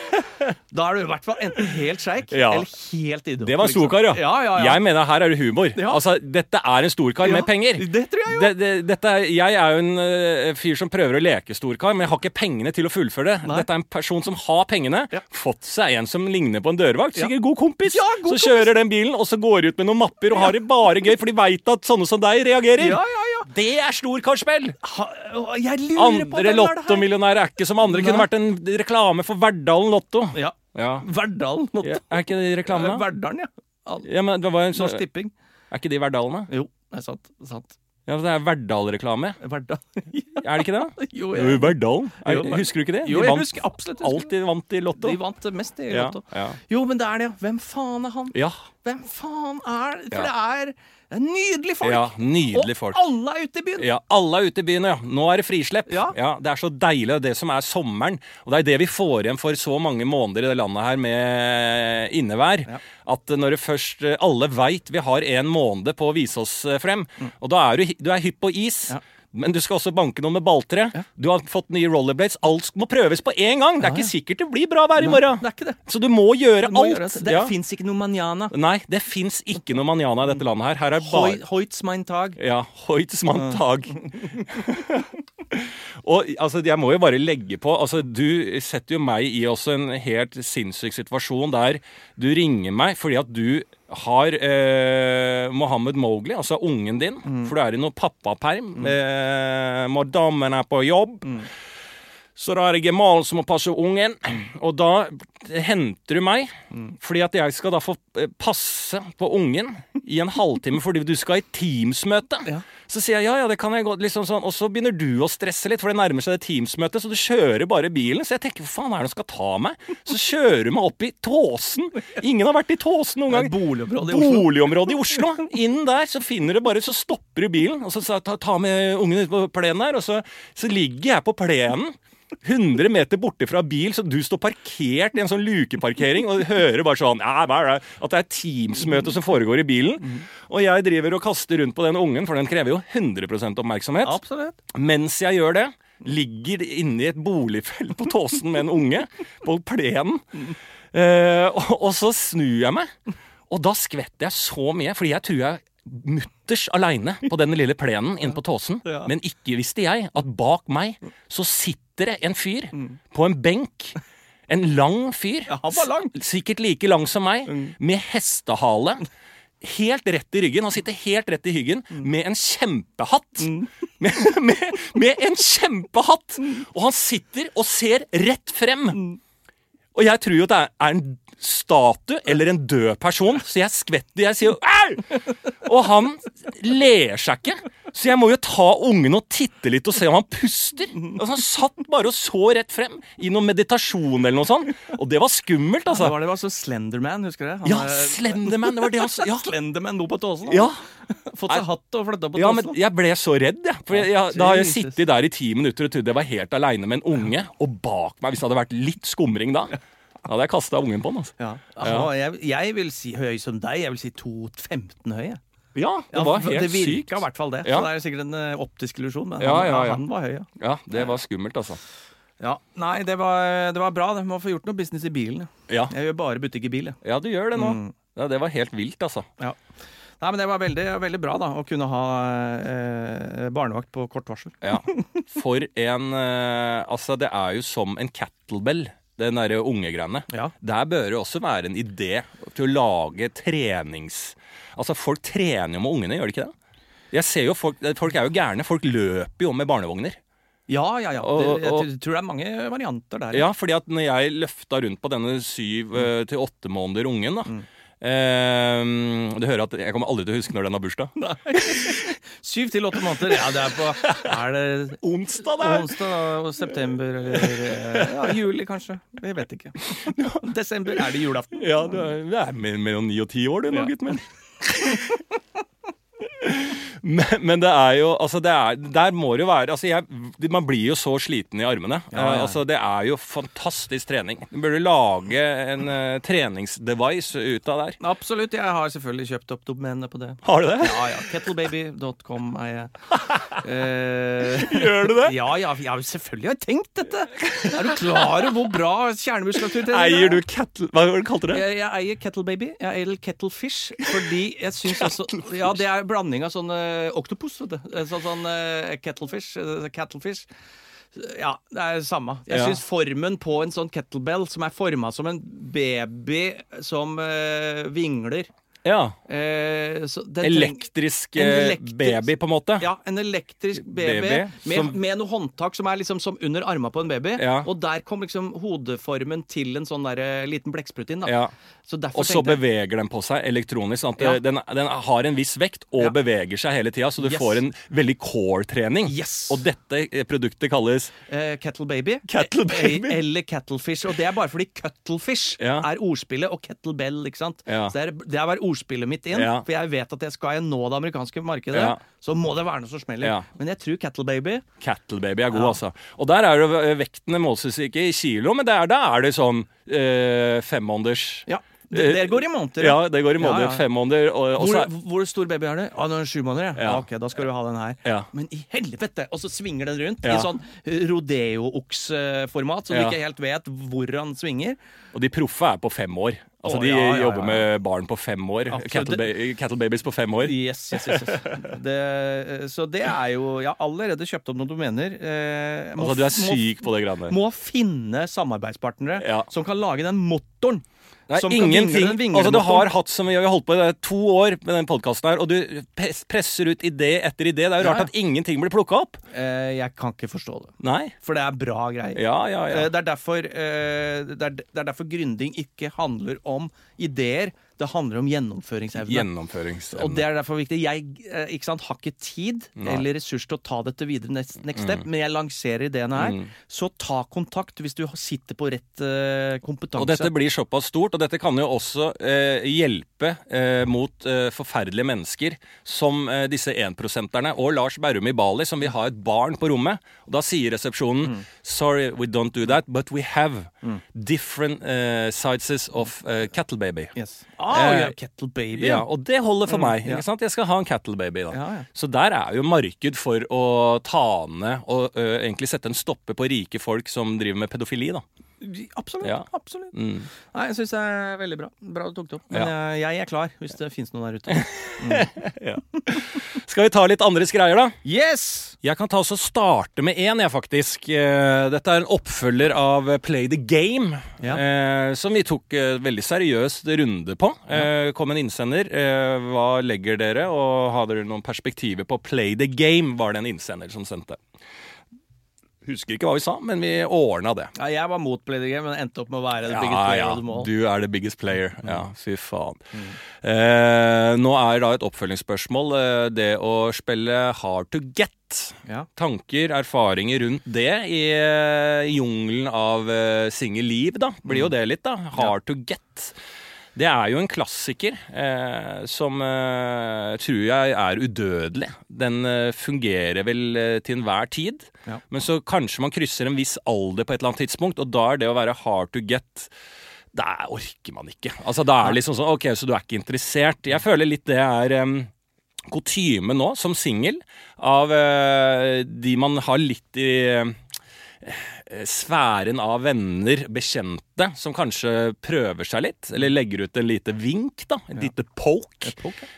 S2: da er du i hvert fall enten helt sjeik,
S1: Ja.
S2: eller helt idiot.
S1: Det var en
S2: liksom.
S1: storkar, ja.
S2: Ja, ja, ja.
S1: Jeg mener her er det humor.
S2: Ja.
S1: Altså, dette er en storkar
S2: Ja,
S1: med penger.
S2: det tror jeg jo.
S1: Det, det, dette er, jeg er jo en ø, fyr som prøver å leke storkar, men jeg har ikke pengene til å fullføre det.
S2: Nei.
S1: Dette er en person som har pengene,
S2: Ja.
S1: fått seg en som ligner på en dørvakt.
S2: Ja.
S1: Sikkert god kompis.
S2: Ja, god
S1: så kjører den bilen, og så går ut med noen mapper og har det bare gøy, for de veit at sånne som deg reagerer.
S2: Ja, ja, ja.
S1: Det er storkarspill!
S2: Ha, og jeg lurer på
S1: Andre
S2: hvem er det her?
S1: lottomillionærer er ikke som andre. Kunne
S2: Nei.
S1: vært en reklame for Verdalen Lotto.
S2: Ja,
S1: Ja.
S2: Verdalen. nå-
S1: Ja, Er ikke det reklame, da?
S2: Verdalen, ja. Al-
S1: Ja, men det var en sånn,
S2: Norsk Tipping.
S1: er ikke de Verdalen, da?
S2: Jo, det er sant. sant.
S1: Ja, for det er Verdal-reklame.
S2: Verdal.
S1: Er det ikke det? da? Jo,
S2: Jo, jeg,
S1: Verdalen. Er,
S2: Jo,
S1: husker du ikke det?
S2: jo,
S1: de
S2: jeg
S1: vant,
S2: husker absolutt jeg husker.
S1: alltid vant i Lotto.
S2: De vant mest i
S1: ja,
S2: Lotto.
S1: ja.
S2: Jo, men det er det, ja. Hvem faen er han?
S1: Ja,
S2: Hvem faen er
S1: Ja.
S2: For det, er, det er nydelige folk!
S1: ja, nydelige folk.
S2: Og alle er ute i byen!
S1: Ja, Alle er ute i byen, ja. Nå er det frislepp.
S2: Ja.
S1: Det er så deilig, og det som er sommeren. Og det er det vi får igjen for så mange måneder i det landet her med innevær. At når det først eh, Alle veit vi har en måned på å vise oss eh, frem. Og da er du, hy- du er hypp på is.
S2: Mm. Ja.
S1: Men du skal også banke noen med balltre. Du har fått nye rollerblades. Alt må prøves på én gang. Det er ikke sikkert det blir bra vær i morgen.
S2: Det er ikke det.
S1: Så du må gjøre
S2: Det, må
S1: alt.
S2: gjøres. det
S1: Ja.
S2: fins ikke noe manjana.
S1: Nei, det fins ikke noe manjana i dette landet her. Her er bare
S2: Mm. Hoi, Mm. Hoits mein Tag.
S1: ja, Hoyts manntag. og altså, jeg må jo bare legge på altså, Du setter jo meg i også en helt sinnssyk situasjon der du ringer meg fordi at du har eh, Mohammed Mowgli, altså ungen din, for du er i noe pappaperm. Eh, Madammen er på jobb. Så da er det gemalen som må passe ungen, og da henter du meg, fordi at jeg skal da få eh, passe på ungen i en halvtime fordi du skal i Teams-møte.
S2: Ja.
S1: Så sier jeg ja, ja, det kan jeg godt, liksom sånn, og så begynner du å stresse litt, for det nærmer seg det Teams-møtet, så du kjører bare bilen. Så jeg tenker, hva faen er det som skal ta meg? Så kjører du meg opp i Tåsen. Ingen har vært i Tåsen noen gang.
S2: Det er et boligområde i Oslo.
S1: Boligområdet i Oslo. Inn der så finner du bare, så stopper du bilen, og så sa- ta, ta med ungen ut på plenen der, og så, så ligger jeg på plenen. 100 meter borte fra bil, så du står parkert i en sånn lukeparkering og hører bare sånn ja, hva er det? At det er Teams-møte som foregår i bilen. Og jeg driver og kaster rundt på den ungen, for den krever jo 100 oppmerksomhet.
S2: Absolutt.
S1: Mens jeg gjør det, ligger inni et boligfelt på Tåsen med en unge på plenen. Eh, og, og så snur jeg meg, og da skvetter jeg så mye, fordi jeg tror jeg er mutters aleine på den lille plenen inne på Tåsen.
S2: Ja.
S1: Men ikke visste jeg at bak meg så sitter det en fyr på en benk. En lang fyr.
S2: Ja, han var lang. Mm.
S1: s- Sikkert like lang som meg, med hestehale. Helt rett i ryggen. Han sitter helt rett i ryggen
S2: Mm.
S1: med en kjempehatt. Med, med, med en kjempehatt!
S2: Mm.
S1: Og han sitter og ser rett frem. Og jeg tror jo at det er- er en statue eller en død person, så jeg skvetter. Jeg sier jo, au! Og han ler seg ikke, så jeg må jo ta ungen og titte litt og se om han puster.
S2: Mm.
S1: Altså, han satt bare og så rett frem i noen meditasjon eller noe sånt, og det var skummelt,
S2: Det
S1: altså.
S2: var, det var så Slenderman, husker du det? Han
S1: Ja,
S2: er-
S1: Slenderman, det var det han sa. Ja.
S2: Slenderman nå på Tåsen.
S1: ja.
S2: Fått seg hatt og flytta på
S1: Ja, men
S2: Tåsen.
S1: jeg ble så redd, jeg. For jeg, jeg, da har jeg
S2: Jesus.
S1: sittet der i ti minutter og trodd jeg var helt aleine med en unge, og bak meg, hvis det hadde vært litt skumring da, da hadde jeg kasta ungen på den. altså.
S2: Ja. Ah, Jeg, jeg vil si høy som deg. Jeg vil si 2,15 høy. jeg.
S1: Ja, det var helt
S2: det
S1: sykt.
S2: virka i hvert fall det.
S1: Ja.
S2: Så det er sikkert en eh, optisk illusjon, men
S1: Ja,
S2: han,
S1: ja, ja.
S2: han var høy, ja.
S1: Ja, det var skummelt, altså.
S2: ja. Nei, det var, det var bra. Det. Må få gjort noe business i bilen. ja.
S1: Ja,
S2: Jeg gjør bare butikk i bil, jeg.
S1: ja du gjør det nå. Ja, det var helt vilt, altså.
S2: Ja. Nei, men det var veldig, veldig bra da, å kunne ha eh, barnevakt på kort varsel.
S1: Ja. For en eh, Altså, det er jo som en kettlebell, den derre ungegreiene.
S2: Ja.
S1: Der bør det også være en idé til å lage trenings... Altså, folk trener jo med ungene, gjør de ikke det? Jeg ser jo folk, folk er jo gærne. Folk løper jo med barnevogner.
S2: Ja, ja, ja.
S1: Og-
S2: Det, jeg
S1: og-
S2: tr- tror det er mange varianter der.
S1: Ja, fordi at når jeg løfta rundt på denne syv eh, til åtte måneder ungen, da Ehm, du hører at Jeg kommer aldri til å huske når den har bursdag.
S2: Syv til åtte måneder. Ja, det er på Er det
S1: Onsdag,
S2: onsdag og september eller eh, ja, juli, kanskje? Vi vet ikke. Desember er det julaften.
S1: Ja, du er, du er me- mellom ni og ti år, du nå,
S2: Ja.
S1: gutten min. men, men det er jo Altså, det er, der må det jo være altså jeg, Man blir jo så sliten i armene.
S2: Ja, ja.
S1: Eh, Altså, det er jo fantastisk trening. Du burde lage en eh, treningsdevice ut av det her.
S2: Absolutt. Jeg har selvfølgelig kjøpt opp domenet på det.
S1: Har du det?
S2: Ja ja. Kettlebaby.com er jeg. Eh,
S1: Gjør du det?
S2: ja, ja, ja, selvfølgelig har jeg tenkt dette! Er du klar over hvor bra kjernemuskulatur trener?
S1: Eier du kettle... Hva var det du kalte det?
S2: Jeg, jeg eier Kettlebaby. Jeg eier Kettlefish. Fordi jeg syns også Ja, det er en blanding av sånn eh, oktopus, vet du. Eh, Sånn, sånn eh, Kettlefish. eh, Cattlefish. Ja, det er det samme. Jeg
S1: Ja.
S2: syns formen på en sånn kettlebell, som er forma som en baby som eh, vingler
S1: Ja.
S2: eh, så den treng-
S1: Elektrisk,
S2: En
S1: eh,
S2: elektrisk-
S1: baby, på en måte.
S2: ja, en elektrisk baby,
S1: Baby,
S2: med,
S1: som-
S2: med noe håndtak som er liksom som under arma på en baby.
S1: Ja.
S2: Og der kom liksom hodeformen til en sånn der, eh, liten blekksprut inn. Da.
S1: Ja.
S2: Så derfor
S1: Og så
S2: tenkte jeg
S1: beveger den på seg elektronisk. Sånn at
S2: Ja.
S1: eh, den, den har en viss vekt og
S2: Ja.
S1: beveger seg hele tida, så du
S2: Yes.
S1: får en veldig core-trening.
S2: Yes.
S1: Og dette eh, produktet kalles
S2: eh, Kettle Baby.
S1: Kettle
S2: eh,
S1: Baby.
S2: Eller Kettlefish. Og det er bare fordi Cuttlefish
S1: Ja.
S2: er ordspillet, og Kettlebell, ikke sant.
S1: Ja.
S2: Så det er, det er bare ordspillet mitt inn,
S1: Ja.
S2: for jeg vet at jeg skal jeg nå det amerikanske markedet,
S1: Ja.
S2: så må det være noe som smeller.
S1: Ja.
S2: Men jeg tror Kettle Baby
S1: Cattle Baby er god,
S2: Ja.
S1: altså. Og der er jo eh, vektene måles ikke i kilo, men der, da er det sånn eh, femmåneders
S2: Ja, det, det går i måneder.
S1: Ja, det går i
S2: Ja,
S1: måneder.
S2: ja.
S1: Femmåneder. Og, og så
S2: Hvor,
S1: er-
S2: hvor stor baby er det? Ah, den er sju måneder, ja.
S1: Ja.
S2: Ah, ok, da skal du ha den her.
S1: Ja.
S2: Men i helvete! Og så svinger den rundt
S1: Ja.
S2: i sånn rodeo-oks-format, så
S1: Ja.
S2: du ikke helt vet hvor han svinger.
S1: Og de proffe er på fem år. Altså,
S2: Å,
S1: de
S2: ja, ja, ja.
S1: jobber med barn på fem år.
S2: Absolutt.
S1: Cattle, ba cattle Babies på fem år.
S2: Yes, yes, yes, yes. Det, eh, så det er jo Jeg har allerede kjøpt opp noen domener. Eh, må,
S1: Altså, du er
S2: f- må,
S1: syk på det greiene der.
S2: må finne samarbeidspartnere
S1: Ja.
S2: som kan lage den motoren.
S1: Nei,
S2: som kan vingle
S1: ingenting.
S2: den vinglemotoren.
S1: altså, du har hatt som vi vi har holdt på i det er to år med den podkasten her, og du pres- presser ut idé etter idé. Det er jo
S2: Ja,
S1: rart
S2: ja.
S1: at ingenting blir plukka opp.
S2: eh, Jeg kan ikke forstå det.
S1: Nei.
S2: For det er bra greier.
S1: Ja, ja, ja.
S2: Eh, Det er derfor, eh, det er, det er derfor gründing ikke handler om ideer, det handler om gjennomføringsevne. og det
S1: Gjennomføringsevne.
S2: er derfor viktig. Jeg eh, ikke sant, har ikke tid
S1: Nei. Mm.
S2: eller ressurs til å ta dette videre next, next step, men jeg lanserer ideene her. Så ta kontakt hvis du har- sitter på rett eh, kompetanse.
S1: Og dette blir såpass stort, og dette kan jo også eh, hjelpe eh, mot eh, forferdelige mennesker som eh, disse énprosenterne og Lars Berrum i Bali, som vil ha et barn på rommet. Og da sier
S2: Mm.
S1: resepsjonen Sorry, we don't do that, but we have different eh, sizes of eh, cattle baby.
S2: yes. Ah,
S1: Eh,
S2: ja, kettle baby. Mm,
S1: Ja, og det holder for meg.
S2: ja.
S1: ikke sant? Jeg skal ha en cattle baby. da.
S2: Ja, ja.
S1: Så der er jo marked for å ta ned og ø, egentlig sette en stopper på rike folk som driver med pedofili. da. Mm.
S2: Absolutt.
S1: Ja.
S2: absolutt. Nei, jeg syns det er veldig bra. Bra du tok det opp. Men jeg, jeg er klar, hvis det fins noen der ute.
S1: Skal vi ta litt andres greier, da?
S2: Yes!
S1: Jeg kan ta oss og starte med én, jeg, faktisk. Eh, Dette er en oppfølger av eh, Play the Game,
S2: Ja.
S1: eh, som vi tok eh, veldig seriøst runde på. Eh, kom en innsender. Eh, hva legger dere, og har dere noen perspektiver på Play the Game, var det en innsender som sendte. Husker ikke hva vi sa, men vi ordna det.
S2: Ja, jeg var mot Play the Game, men endte opp med å være the
S1: Ja,
S2: biggest player
S1: ja,
S2: of them all. Mm.
S1: du er the biggest player. Ja, fy faen. Eh, nå er da et oppfølgingsspørsmål eh, det å spille hard to get.
S2: Ja.
S1: Tanker, erfaringer rundt det i eh, jungelen av eh, singelliv, da. Blir jo det litt, da. Hard to get. Det er jo en klassiker eh, som eh, tror jeg er udødelig. Den eh, fungerer vel eh, til enhver tid.
S2: Ja.
S1: Men så kanskje man krysser en viss alder på et eller annet tidspunkt, og da er det å være hard to get Der orker man ikke. Altså, da er det liksom sånn OK, så du er ikke interessert. Jeg føler litt det er em, kutyme nå, som singel, av eh, de man har litt i eh, sfæren av venner, bekjente, som kanskje prøver seg litt, eller legger ut en lite vink, da. Et lite poke.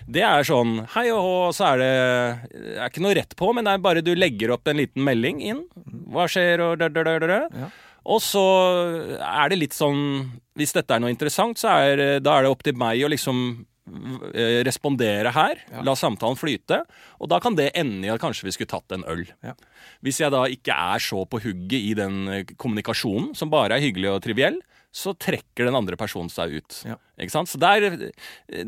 S1: Det er sånn hei og hå, så er det det er ikke noe rett på, men det er bare du legger opp en liten melding inn. Hva skjer, og da, da, da, da, da.
S2: Ja.
S1: Og så er det litt sånn Hvis dette er noe interessant, så er, det- da er det opp til meg å liksom eh, respondere her. La samtalen flyte. Og da kan det ende i at kanskje vi skulle tatt en øl.
S2: Ja.
S1: Hvis jeg da ikke er så på hugget i den eh, kommunikasjonen, som bare er hyggelig og triviell, så trekker den andre personen seg ut.
S2: Ja.
S1: Ikke sant? Så der, eh,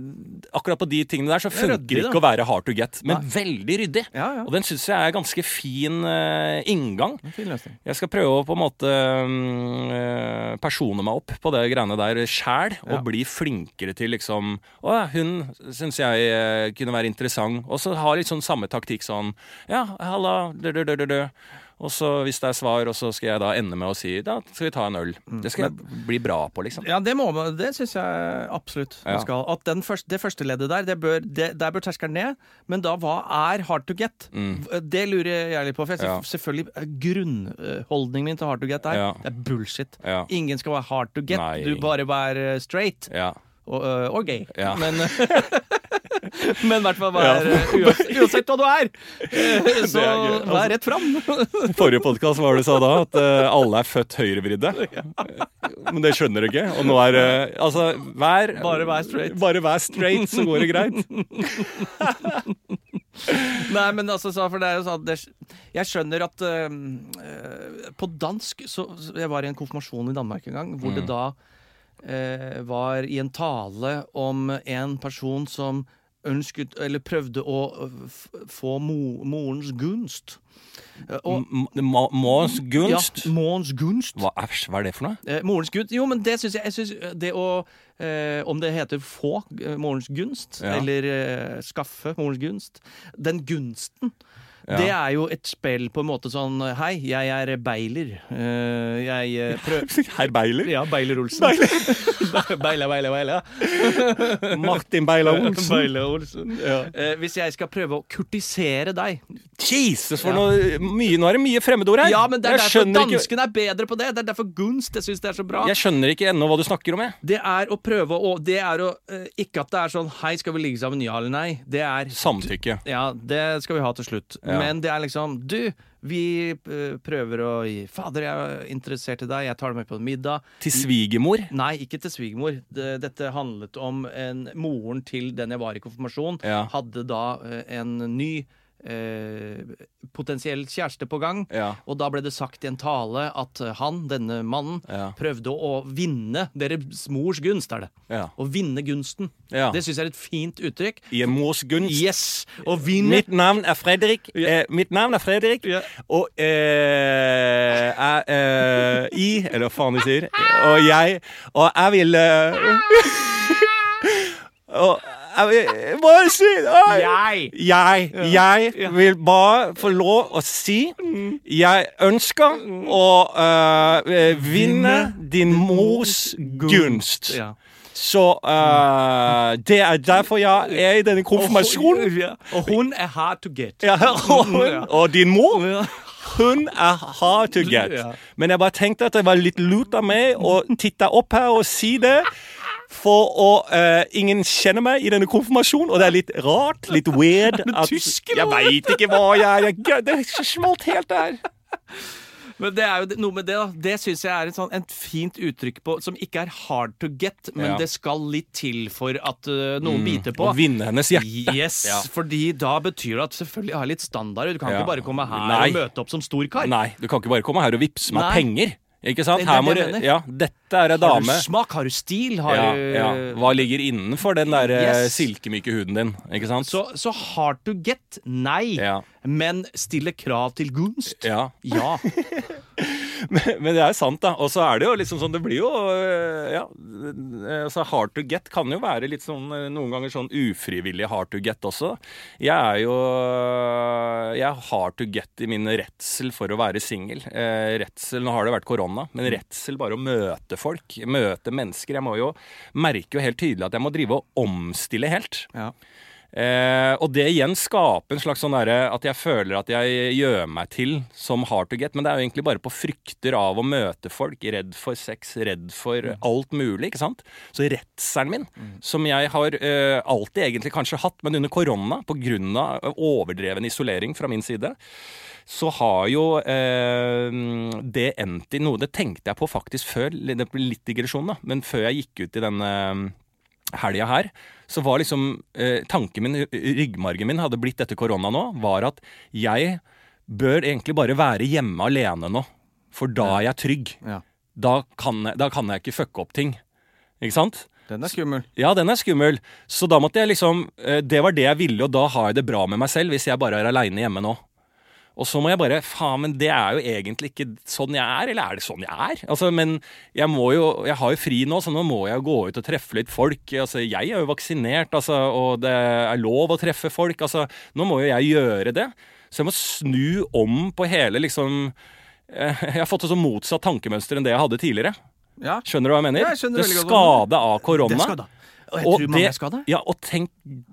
S1: akkurat på de tingene der så
S2: Det er
S1: funker
S2: ryddig,
S1: det
S2: da.
S1: ikke å være hard to get, men
S2: Nei.
S1: veldig ryddig.
S2: Ja, ja.
S1: Og den syns jeg er ganske fin eh, inngang.
S2: En fin løsning.
S1: Jeg skal prøve å på en måte mm, eh, persone meg opp på det greiene der sjæl, og
S2: Ja.
S1: bli flinkere til liksom Å ja, hun syns jeg eh, kunne være interessant. Og så ha litt sånn samme taktikk sånn Ja, halla, dø, dø, dø, dø, dø. Og så hvis det er svar, og så skal jeg da ende med å si da skal vi ta en øl. Det skal jeg bli bra på, liksom.
S2: Ja, det, må man- det syns jeg absolutt man
S1: Ja.
S2: skal. At den først- det første leddet der, det bør, det, der bør terskelen ned. Men da, hva er hard to get? Det lurer jeg litt på. For
S1: Mm.
S2: jeg,
S1: Ja.
S2: selvfølgelig, eh, grunnholdningen min til hard to get er
S1: Ja.
S2: det er bullshit.
S1: Ja.
S2: Ingen skal være hard to get.
S1: Nei.
S2: Du bare vær eh, straight.
S1: Ja.
S2: Og, eh, og gay.
S1: Ja.
S2: Men Men i hvert fall vær eh, uansett, uansett hva du er! eh,
S1: gøy.
S2: Så
S1: Altså-
S2: vær rett fram.
S1: Forrige podkast var det sa da at eh, alle er født høyrevridde. Men det skjønner du ikke. Og nå er eh, Altså, vær
S2: Bare vær straight.
S1: Bare vær straight, så går det greit.
S2: Nei, men altså, så- for det er jo sånn det, Jeg skjønner at eh, eh, På dansk så, så Jeg var i en konfirmasjon i Danmark en gang, hvor det da eh, var i en tale om en person som ønsket Eller prøvde å eh, f få mo, morens gunst. Eh, og,
S1: Måns gunst?
S2: Ja, morens gunst.
S1: Hva, æsj, hva er det for noe?
S2: Eh, morens gunst Jo, men det syns jeg, jeg synes Det å eh, Om det heter få eh, morens gunst,
S1: Ja.
S2: eller eh, skaffe morens gunst Den gunsten,
S1: Ja.
S2: det er jo et spill på en måte sånn Hei, jeg er beiler. Eh, jeg eh, prøv...
S1: Herr Beiler?
S2: Ja, Beiler-Olsen. Beiler, beiler, beiler. beiler.
S1: Martin Beiler
S2: Beiler-Olsen. Eh, hvis jeg skal prøve å kurtisere deg
S1: Jesus, for
S2: Ja.
S1: noe mye, Nå er det mye fremmedord her!
S2: Ja, men det er
S1: jeg,
S2: derfor
S1: skjønner ikke,
S2: danskene er bedre på det! Det er derfor gunst jeg syns det er så bra.
S1: jeg skjønner ikke ennå hva du snakker om, jeg.
S2: Det er å prøve å Det er å eh, Ikke at det er sånn Hei, skal vi ligge sammen? Ja eller nei? Det er
S1: Samtykke.
S2: Ja, det skal vi ha til slutt.
S1: Ja.
S2: Men det er liksom Du, vi eh, prøver å gi Fader, jeg er interessert i deg. Jeg tar deg med på en middag.
S1: Til svigermor?
S2: Nei, ikke til svigermor. Det, dette handlet om en, moren til den jeg var i konfirmasjon.
S1: Ja.
S2: Hadde da eh, en ny eh, potensiell kjæreste på gang.
S1: Ja.
S2: Og da ble det sagt i en tale at eh, han, denne mannen,
S1: Ja.
S2: prøvde å vinne deres mors gunst, er det.
S1: Ja.
S2: Å vinne gunsten.
S1: Ja.
S2: Det syns jeg er et fint uttrykk.
S1: I en mors gunst?
S2: Yes! Å vinne
S1: Mitt navn er Fredrik. Eh, mitt navn er Fredrik.
S2: Ja.
S1: Og eh, jeg eh, I Eller hva faen de sier. Og jeg Og jeg vil eh, Og jeg vil bare si
S2: Jeg!
S1: jeg, jeg vil bare få lov å si Jeg ønsker å eh, Mm. vinne din mors gunst.
S2: Ja.
S1: Så eh, det er derfor jeg er i denne konfirmasjonen.
S2: Ja. Og hun er hard to get.
S1: Mm, Ja, og, hun,
S2: Ja.
S1: og din mor,
S2: Ja.
S1: hun er hard to get.
S2: Ja.
S1: Men jeg bare tenkte at det var litt lurt av meg å titte opp her og si det. For å, eh, ingen kjenner meg i denne konfirmasjonen, og det er litt rart, litt weird at
S2: tysker,
S1: Jeg veit ikke hva jeg er. Jeg- Det smalt helt der.
S2: Men det er jo det- noe med det, da. Det syns jeg er et sånn, et fint uttrykk på, som ikke er hard to get, men
S1: Ja.
S2: det skal litt til for at øh, noen biter på.
S1: Å vinne hennes hjerte.
S2: Yes,
S1: Ja.
S2: fordi da betyr det at selvfølgelig har jeg litt standard. Du kan
S1: Ja.
S2: ikke bare komme her
S1: Nei.
S2: og møte opp som stor kar.
S1: Nei, du kan ikke bare komme her og vippse meg
S2: Nei.
S1: penger. Ikke sant?
S2: Det er
S1: Her
S2: det
S1: må
S2: jeg
S1: du
S2: mener.
S1: Ja, dette er ei
S2: Har du
S1: dame.
S2: smak? Har du stil? Har
S1: Ja,
S2: du
S1: ja. Hva ligger innenfor den der eh,
S2: Yes.
S1: silkemyke huden din? Ikke sant?
S2: Så, så hard to get? Nei.
S1: Ja.
S2: Men stille krav til gunst?
S1: ja.
S2: Ja.
S1: Men det er sant, da. Og så er det jo liksom sånn Det blir jo øh, Ja. øh, Altså, hard to get kan jo være litt sånn øh, noen ganger sånn ufrivillig hard to get også. Jeg er jo øh, Jeg er hard to get i min redsel for å være singel. Eh, redsel Nå har det vært korona, men redsel bare å møte folk. Møte mennesker. Jeg må jo merke jo helt tydelig at jeg må drive og omstille helt.
S2: ja.
S1: Eh, og det igjen skaper en slags sånn derre at jeg føler at jeg gjør meg til som hard to get, men det er jo egentlig bare på frykter av å møte folk. Redd for sex, redd for alt mulig, ikke sant. Så redselen min, som jeg har eh, alltid egentlig kanskje hatt, men under korona, på grunn av eh, overdreven isolering fra min side, så har jo eh, det endt i noe Det tenkte jeg på faktisk før, det blir litt digresjon, da, men før jeg gikk ut i denne helga her, så var liksom eh, tanken min, ryggmargen min hadde blitt etter korona nå, var at jeg bør egentlig bare være hjemme alene nå. For da er jeg trygg.
S2: Ja.
S1: da kan, jeg- da kan jeg ikke fucke opp ting. Ikke sant?
S2: Den er skummel.
S1: Ja, den er skummel. Så da måtte jeg liksom eh, Det var det jeg ville, og da har jeg det bra med meg selv hvis jeg bare er aleine hjemme nå. Og så må jeg bare Faen, men det er jo egentlig ikke sånn jeg er, eller er det sånn jeg er? Altså, men jeg må jo Jeg har jo fri nå, så nå må jeg jo gå ut og treffe litt folk. Altså, jeg er jo vaksinert, altså, og det er lov å treffe folk. Altså, nå må jo jeg gjøre det. Så jeg må snu om på hele liksom eh, Jeg har fått et sånn motsatt tankemønster enn det jeg hadde tidligere.
S2: Ja.
S1: Skjønner du hva jeg mener?
S2: Ja, jeg skjønner
S1: det
S2: veldig godt hva
S1: skade av korona.
S2: Det skal da. Og jeg
S1: Og
S2: tror
S1: det-
S2: mange skal det.
S1: Ja, og tenk,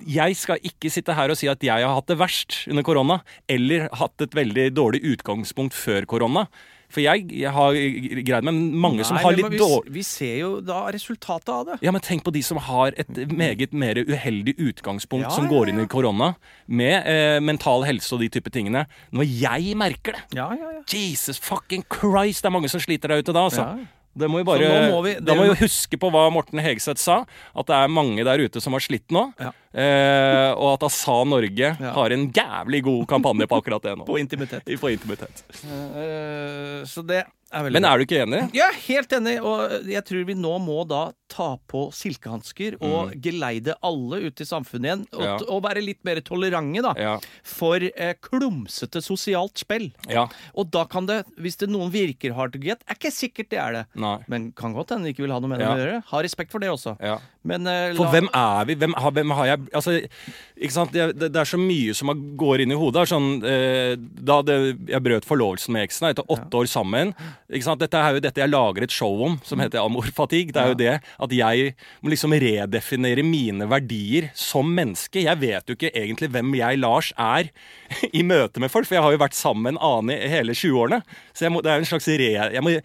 S1: jeg skal ikke sitte her og si at jeg har hatt det verst under korona, eller hatt et veldig dårlig utgangspunkt før korona. For jeg, jeg har greid meg, men mange som
S2: Nei,
S1: har
S2: men
S1: litt
S2: vi,
S1: dårlig
S2: vi ser jo da resultatet av det.
S1: ja, men Tenk på de som har et meget mer uheldig utgangspunkt
S2: Ja,
S1: som
S2: ja,
S1: går
S2: ja.
S1: inn i korona, med eh, mental helse og de type tingene. Når jeg merker det!
S2: Ja, ja, ja.
S1: Jesus fucking Christ! Det er mange som sliter der ute da, altså.
S2: Ja.
S1: Det må vi bare,
S2: Så nå må vi-
S1: da må
S2: det-
S1: vi jo huske på hva Morten Hegseth sa, at det er mange der ute som har slitt nå.
S2: Ja.
S1: Eh, og at ASA Norge
S2: Ja.
S1: har en jævlig god kampanje på akkurat det nå.
S2: På intimitet.
S1: På intimitet.
S2: Eh, så det er veldig
S1: Men er du ikke enig?
S2: Jeg er helt enig, og jeg tror vi nå må da ta på silkehansker og geleide alle ut i samfunnet igjen. Og,
S1: Mm. Ja.
S2: og være litt mer tolerante, da.
S1: Ja.
S2: For eh, klumsete sosialt spill.
S1: Ja.
S2: Og da kan det, hvis det noen virker hardtarget, er ikke sikkert det er det.
S1: Nei.
S2: Men kan godt hende de ikke vil ha noe med det
S1: Ja.
S2: å gjøre. Ha respekt for det også.
S1: Ja.
S2: Men eh,
S1: For
S2: la-
S1: hvem er vi? Hvem har, hvem har jeg Altså, ikke sant? Det, det, det er så mye som har- går inn i hodet. Det er Sånn, eh, da det, jeg brøt forlovelsen med eksen etter åtte år sammen ikke sant? Dette er jo dette jeg lager et show om, som heter Amor Fatigue. Det er jo det at jeg må liksom redefinere mine verdier som menneske. Jeg vet jo ikke egentlig hvem jeg, Lars, er i møte med folk, for jeg har jo vært sammen med en annen i hele 20-årene. Så jeg må, det er jo en slags re... Jeg må,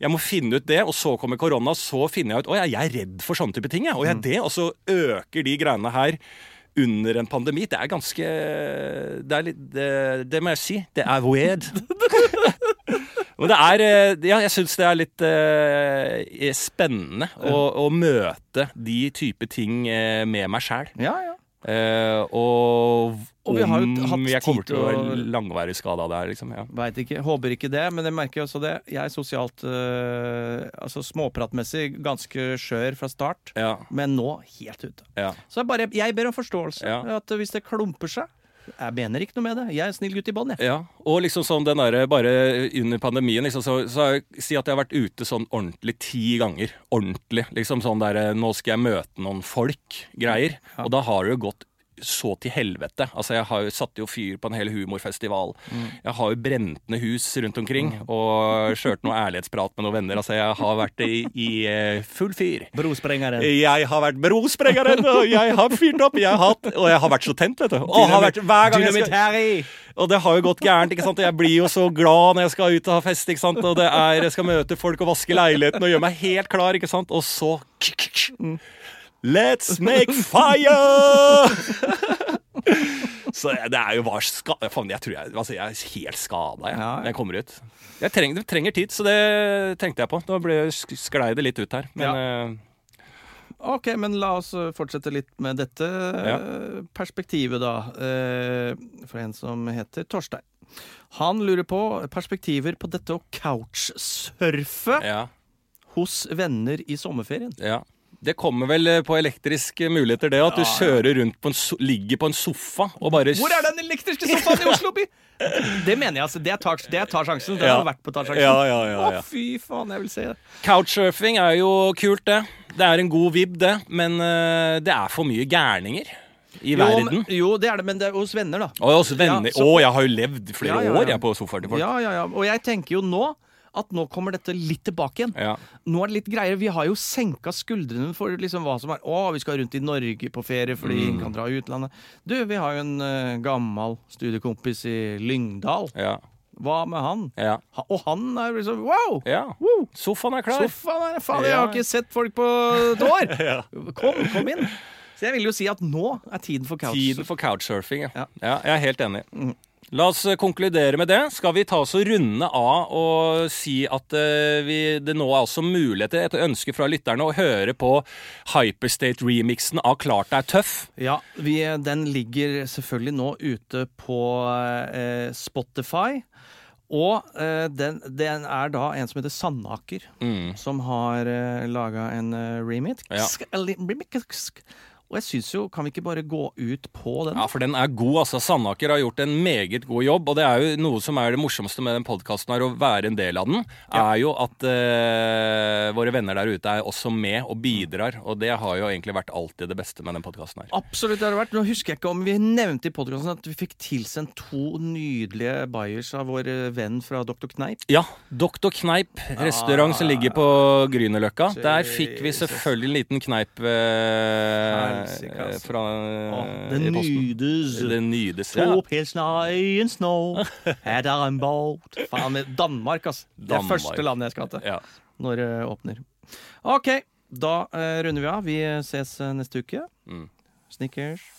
S1: jeg må finne ut det, og så kommer korona, så finner jeg ut Å, jeg jeg er redd for sånne type ting, jeg. Og
S2: Mm.
S1: jeg er det, og så øker de greiene her under en pandemi. Det er ganske Det er litt Det, det må jeg si. Det er weird. Men det er eh, Ja, jeg syns det er litt eh, spennende å, å møte de type ting eh, med meg sjæl.
S2: Ja, ja.
S1: Eh, og
S2: Og vi har jo
S1: om
S2: hatt
S1: jeg kommer
S2: tid
S1: til å
S2: til å-
S1: være langvarig skada der, liksom. Ja.
S2: Veit ikke. Håper ikke det, men jeg merker jo også det. Jeg er sosialt eh, Altså småpratmessig ganske skjør fra start,
S1: Ja,
S2: men nå helt ute.
S1: ja.
S2: Så jeg, bare, jeg ber om forståelse.
S1: Ja.
S2: At eh, hvis det klumper seg Jeg mener ikke noe med det. Jeg er en snill gutt i bånn, jeg.
S1: Ja, og liksom sånn den derre bare under pandemien, liksom, så, så har jeg, si at jeg har vært ute sånn ordentlig ti ganger. Ordentlig. Liksom sånn derre nå skal jeg møte noen folk-greier. Og da har det jo gått så til helvete. Altså, jeg har jo satt jo fyr på en hel humorfestival. Jeg har jo brent ned hus rundt omkring og kjørt noe ærlighetsprat med noen venner. Altså, jeg har vært i, i eh, full fyr.
S2: Brosprengeren.
S1: Jeg har vært brosprengeren, og jeg har fyrt opp, jeg har hatt Og jeg har vært så tent, vet du. Og har vært hver gang jeg skal
S2: Dynamitt-Harry!
S1: og det har jo gått gærent. ikke sant? Og Jeg blir jo så glad når jeg skal ut og ha fest. ikke sant? Og det er, Jeg skal møte folk og vaske leiligheten og gjøre meg helt klar. ikke sant? Og så mm. Let's make fire! Så det er jo bare ska... Faen, jeg tror jeg, altså jeg er helt skada jeg,
S2: Ja, ja.
S1: når jeg kommer ut. Jeg trenger, trenger tid, så det tenkte jeg på. Da ble, sklei det litt ut her. Men eh,
S2: Ok, men la oss eh, fortsette litt med dette eh, perspektivet, da. eh, Fra en som heter Torstein. Han lurer på perspektiver på dette å couchsurfe
S1: eh, ja.
S2: hos venner i sommerferien.
S1: Ja. Det kommer vel eh, på elektriske muligheter, det. At du
S2: Ja, ja.
S1: kjører rundt på en so ligger på en sofa og bare
S2: Hvor er den elektriske sofaen i Oslo by?! Det mener jeg, altså. Det tar, det tar sjansen. Det har
S1: Ja.
S2: vært på tar sjansen.
S1: Ja, ja, ja, ja.
S2: Å, fy faen, jeg vil se det.
S1: Couchsurfing er jo kult, det. Det er en god vib, det. Men eh, det er for mye gærninger i
S2: Jo,
S1: verden.
S2: men- jo, det er det, men det er hos venner, da.
S1: Og også venner.
S2: Ja, så-
S1: Å, jeg har jo levd flere
S2: Ja, ja, ja.
S1: år jeg på sofaen til folk.
S2: Ja, ja, ja. Og jeg tenker jo nå at nå kommer dette litt tilbake igjen.
S1: Ja.
S2: Nå er det litt greier. Vi har jo senka skuldrene for liksom hva som er Å, vi skal rundt i Norge på ferie fordi
S1: Mm.
S2: ingen kan dra i utlandet. Du, vi har jo en eh, gammel studiekompis i Lyngdal.
S1: Ja.
S2: Hva med han?
S1: Ja.
S2: Ha, og han er jo liksom Wow!
S1: ja.
S2: Woo!
S1: Sofaen er klar.
S2: Sofaen er faen, jeg
S1: Ja.
S2: har ikke sett folk på et år! Kom, kom inn! Så jeg vil jo si at nå er tiden for couch.
S1: Tiden for couchsurfing, ja.
S2: Ja. Mm.
S1: ja. Jeg er helt enig. La oss eh, konkludere med det. Skal vi ta oss og runde av og si at eh, vi, det nå er også muligheter, etter ønske fra lytterne, å høre på Hyperstate-remixen av Klart det er tøff.
S2: Ja, vi, den ligger selvfølgelig nå ute på eh, Spotify. Og eh, den, den er da en som heter Sandaker,
S1: Mm.
S2: som har eh, laga en eh, remix.
S1: Ja.
S2: eller remix. Og jeg syns jo, kan vi ikke bare gå ut på den?
S1: Ja, for den er god, altså. Sandaker har gjort en meget god jobb, og det er jo noe som er det morsomste med den podkasten her, å være en del av den, er jo at eh, våre venner der ute er også med og bidrar, og det har jo egentlig vært alltid det beste med den podkasten her.
S2: Absolutt, det har det vært. Nå husker jeg ikke om vi nevnte i podkasten at vi fikk tilsendt to nydelige bayers av vår eh, venn fra Dr. Kneip.
S1: Ja, Doktor Kneip restaurant som ligger på Grünerløkka. Der fikk vi
S2: Ah, Jesus.
S1: selvfølgelig en liten kneip eh,
S2: Helsike, altså.
S1: fra eh,
S2: Den
S1: i posten.
S2: nydes.
S1: Det nydes, ja.
S2: To pilsner i en snow, er der en båt Faen, det- Danmark, altså. Det er
S1: Danmark.
S2: første landet jeg skal til
S1: ja.
S2: når det åpner. OK, da eh, runder vi av. Vi ses eh, neste uke.
S1: Mm.
S2: Snickers.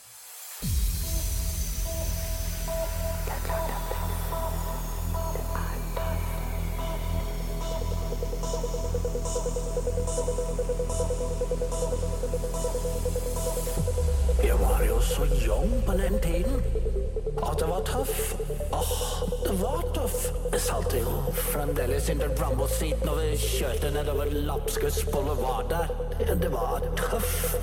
S3: Jeg var jo så young på den tiden. Og det var tøff. Åh, det var tøff. Jeg salte jo fremdeles in the rumble-seat når vi kjørte nedover Lapskus boulevard der. Ja, Det var tøff.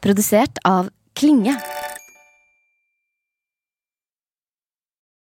S4: Produsert av Klinge.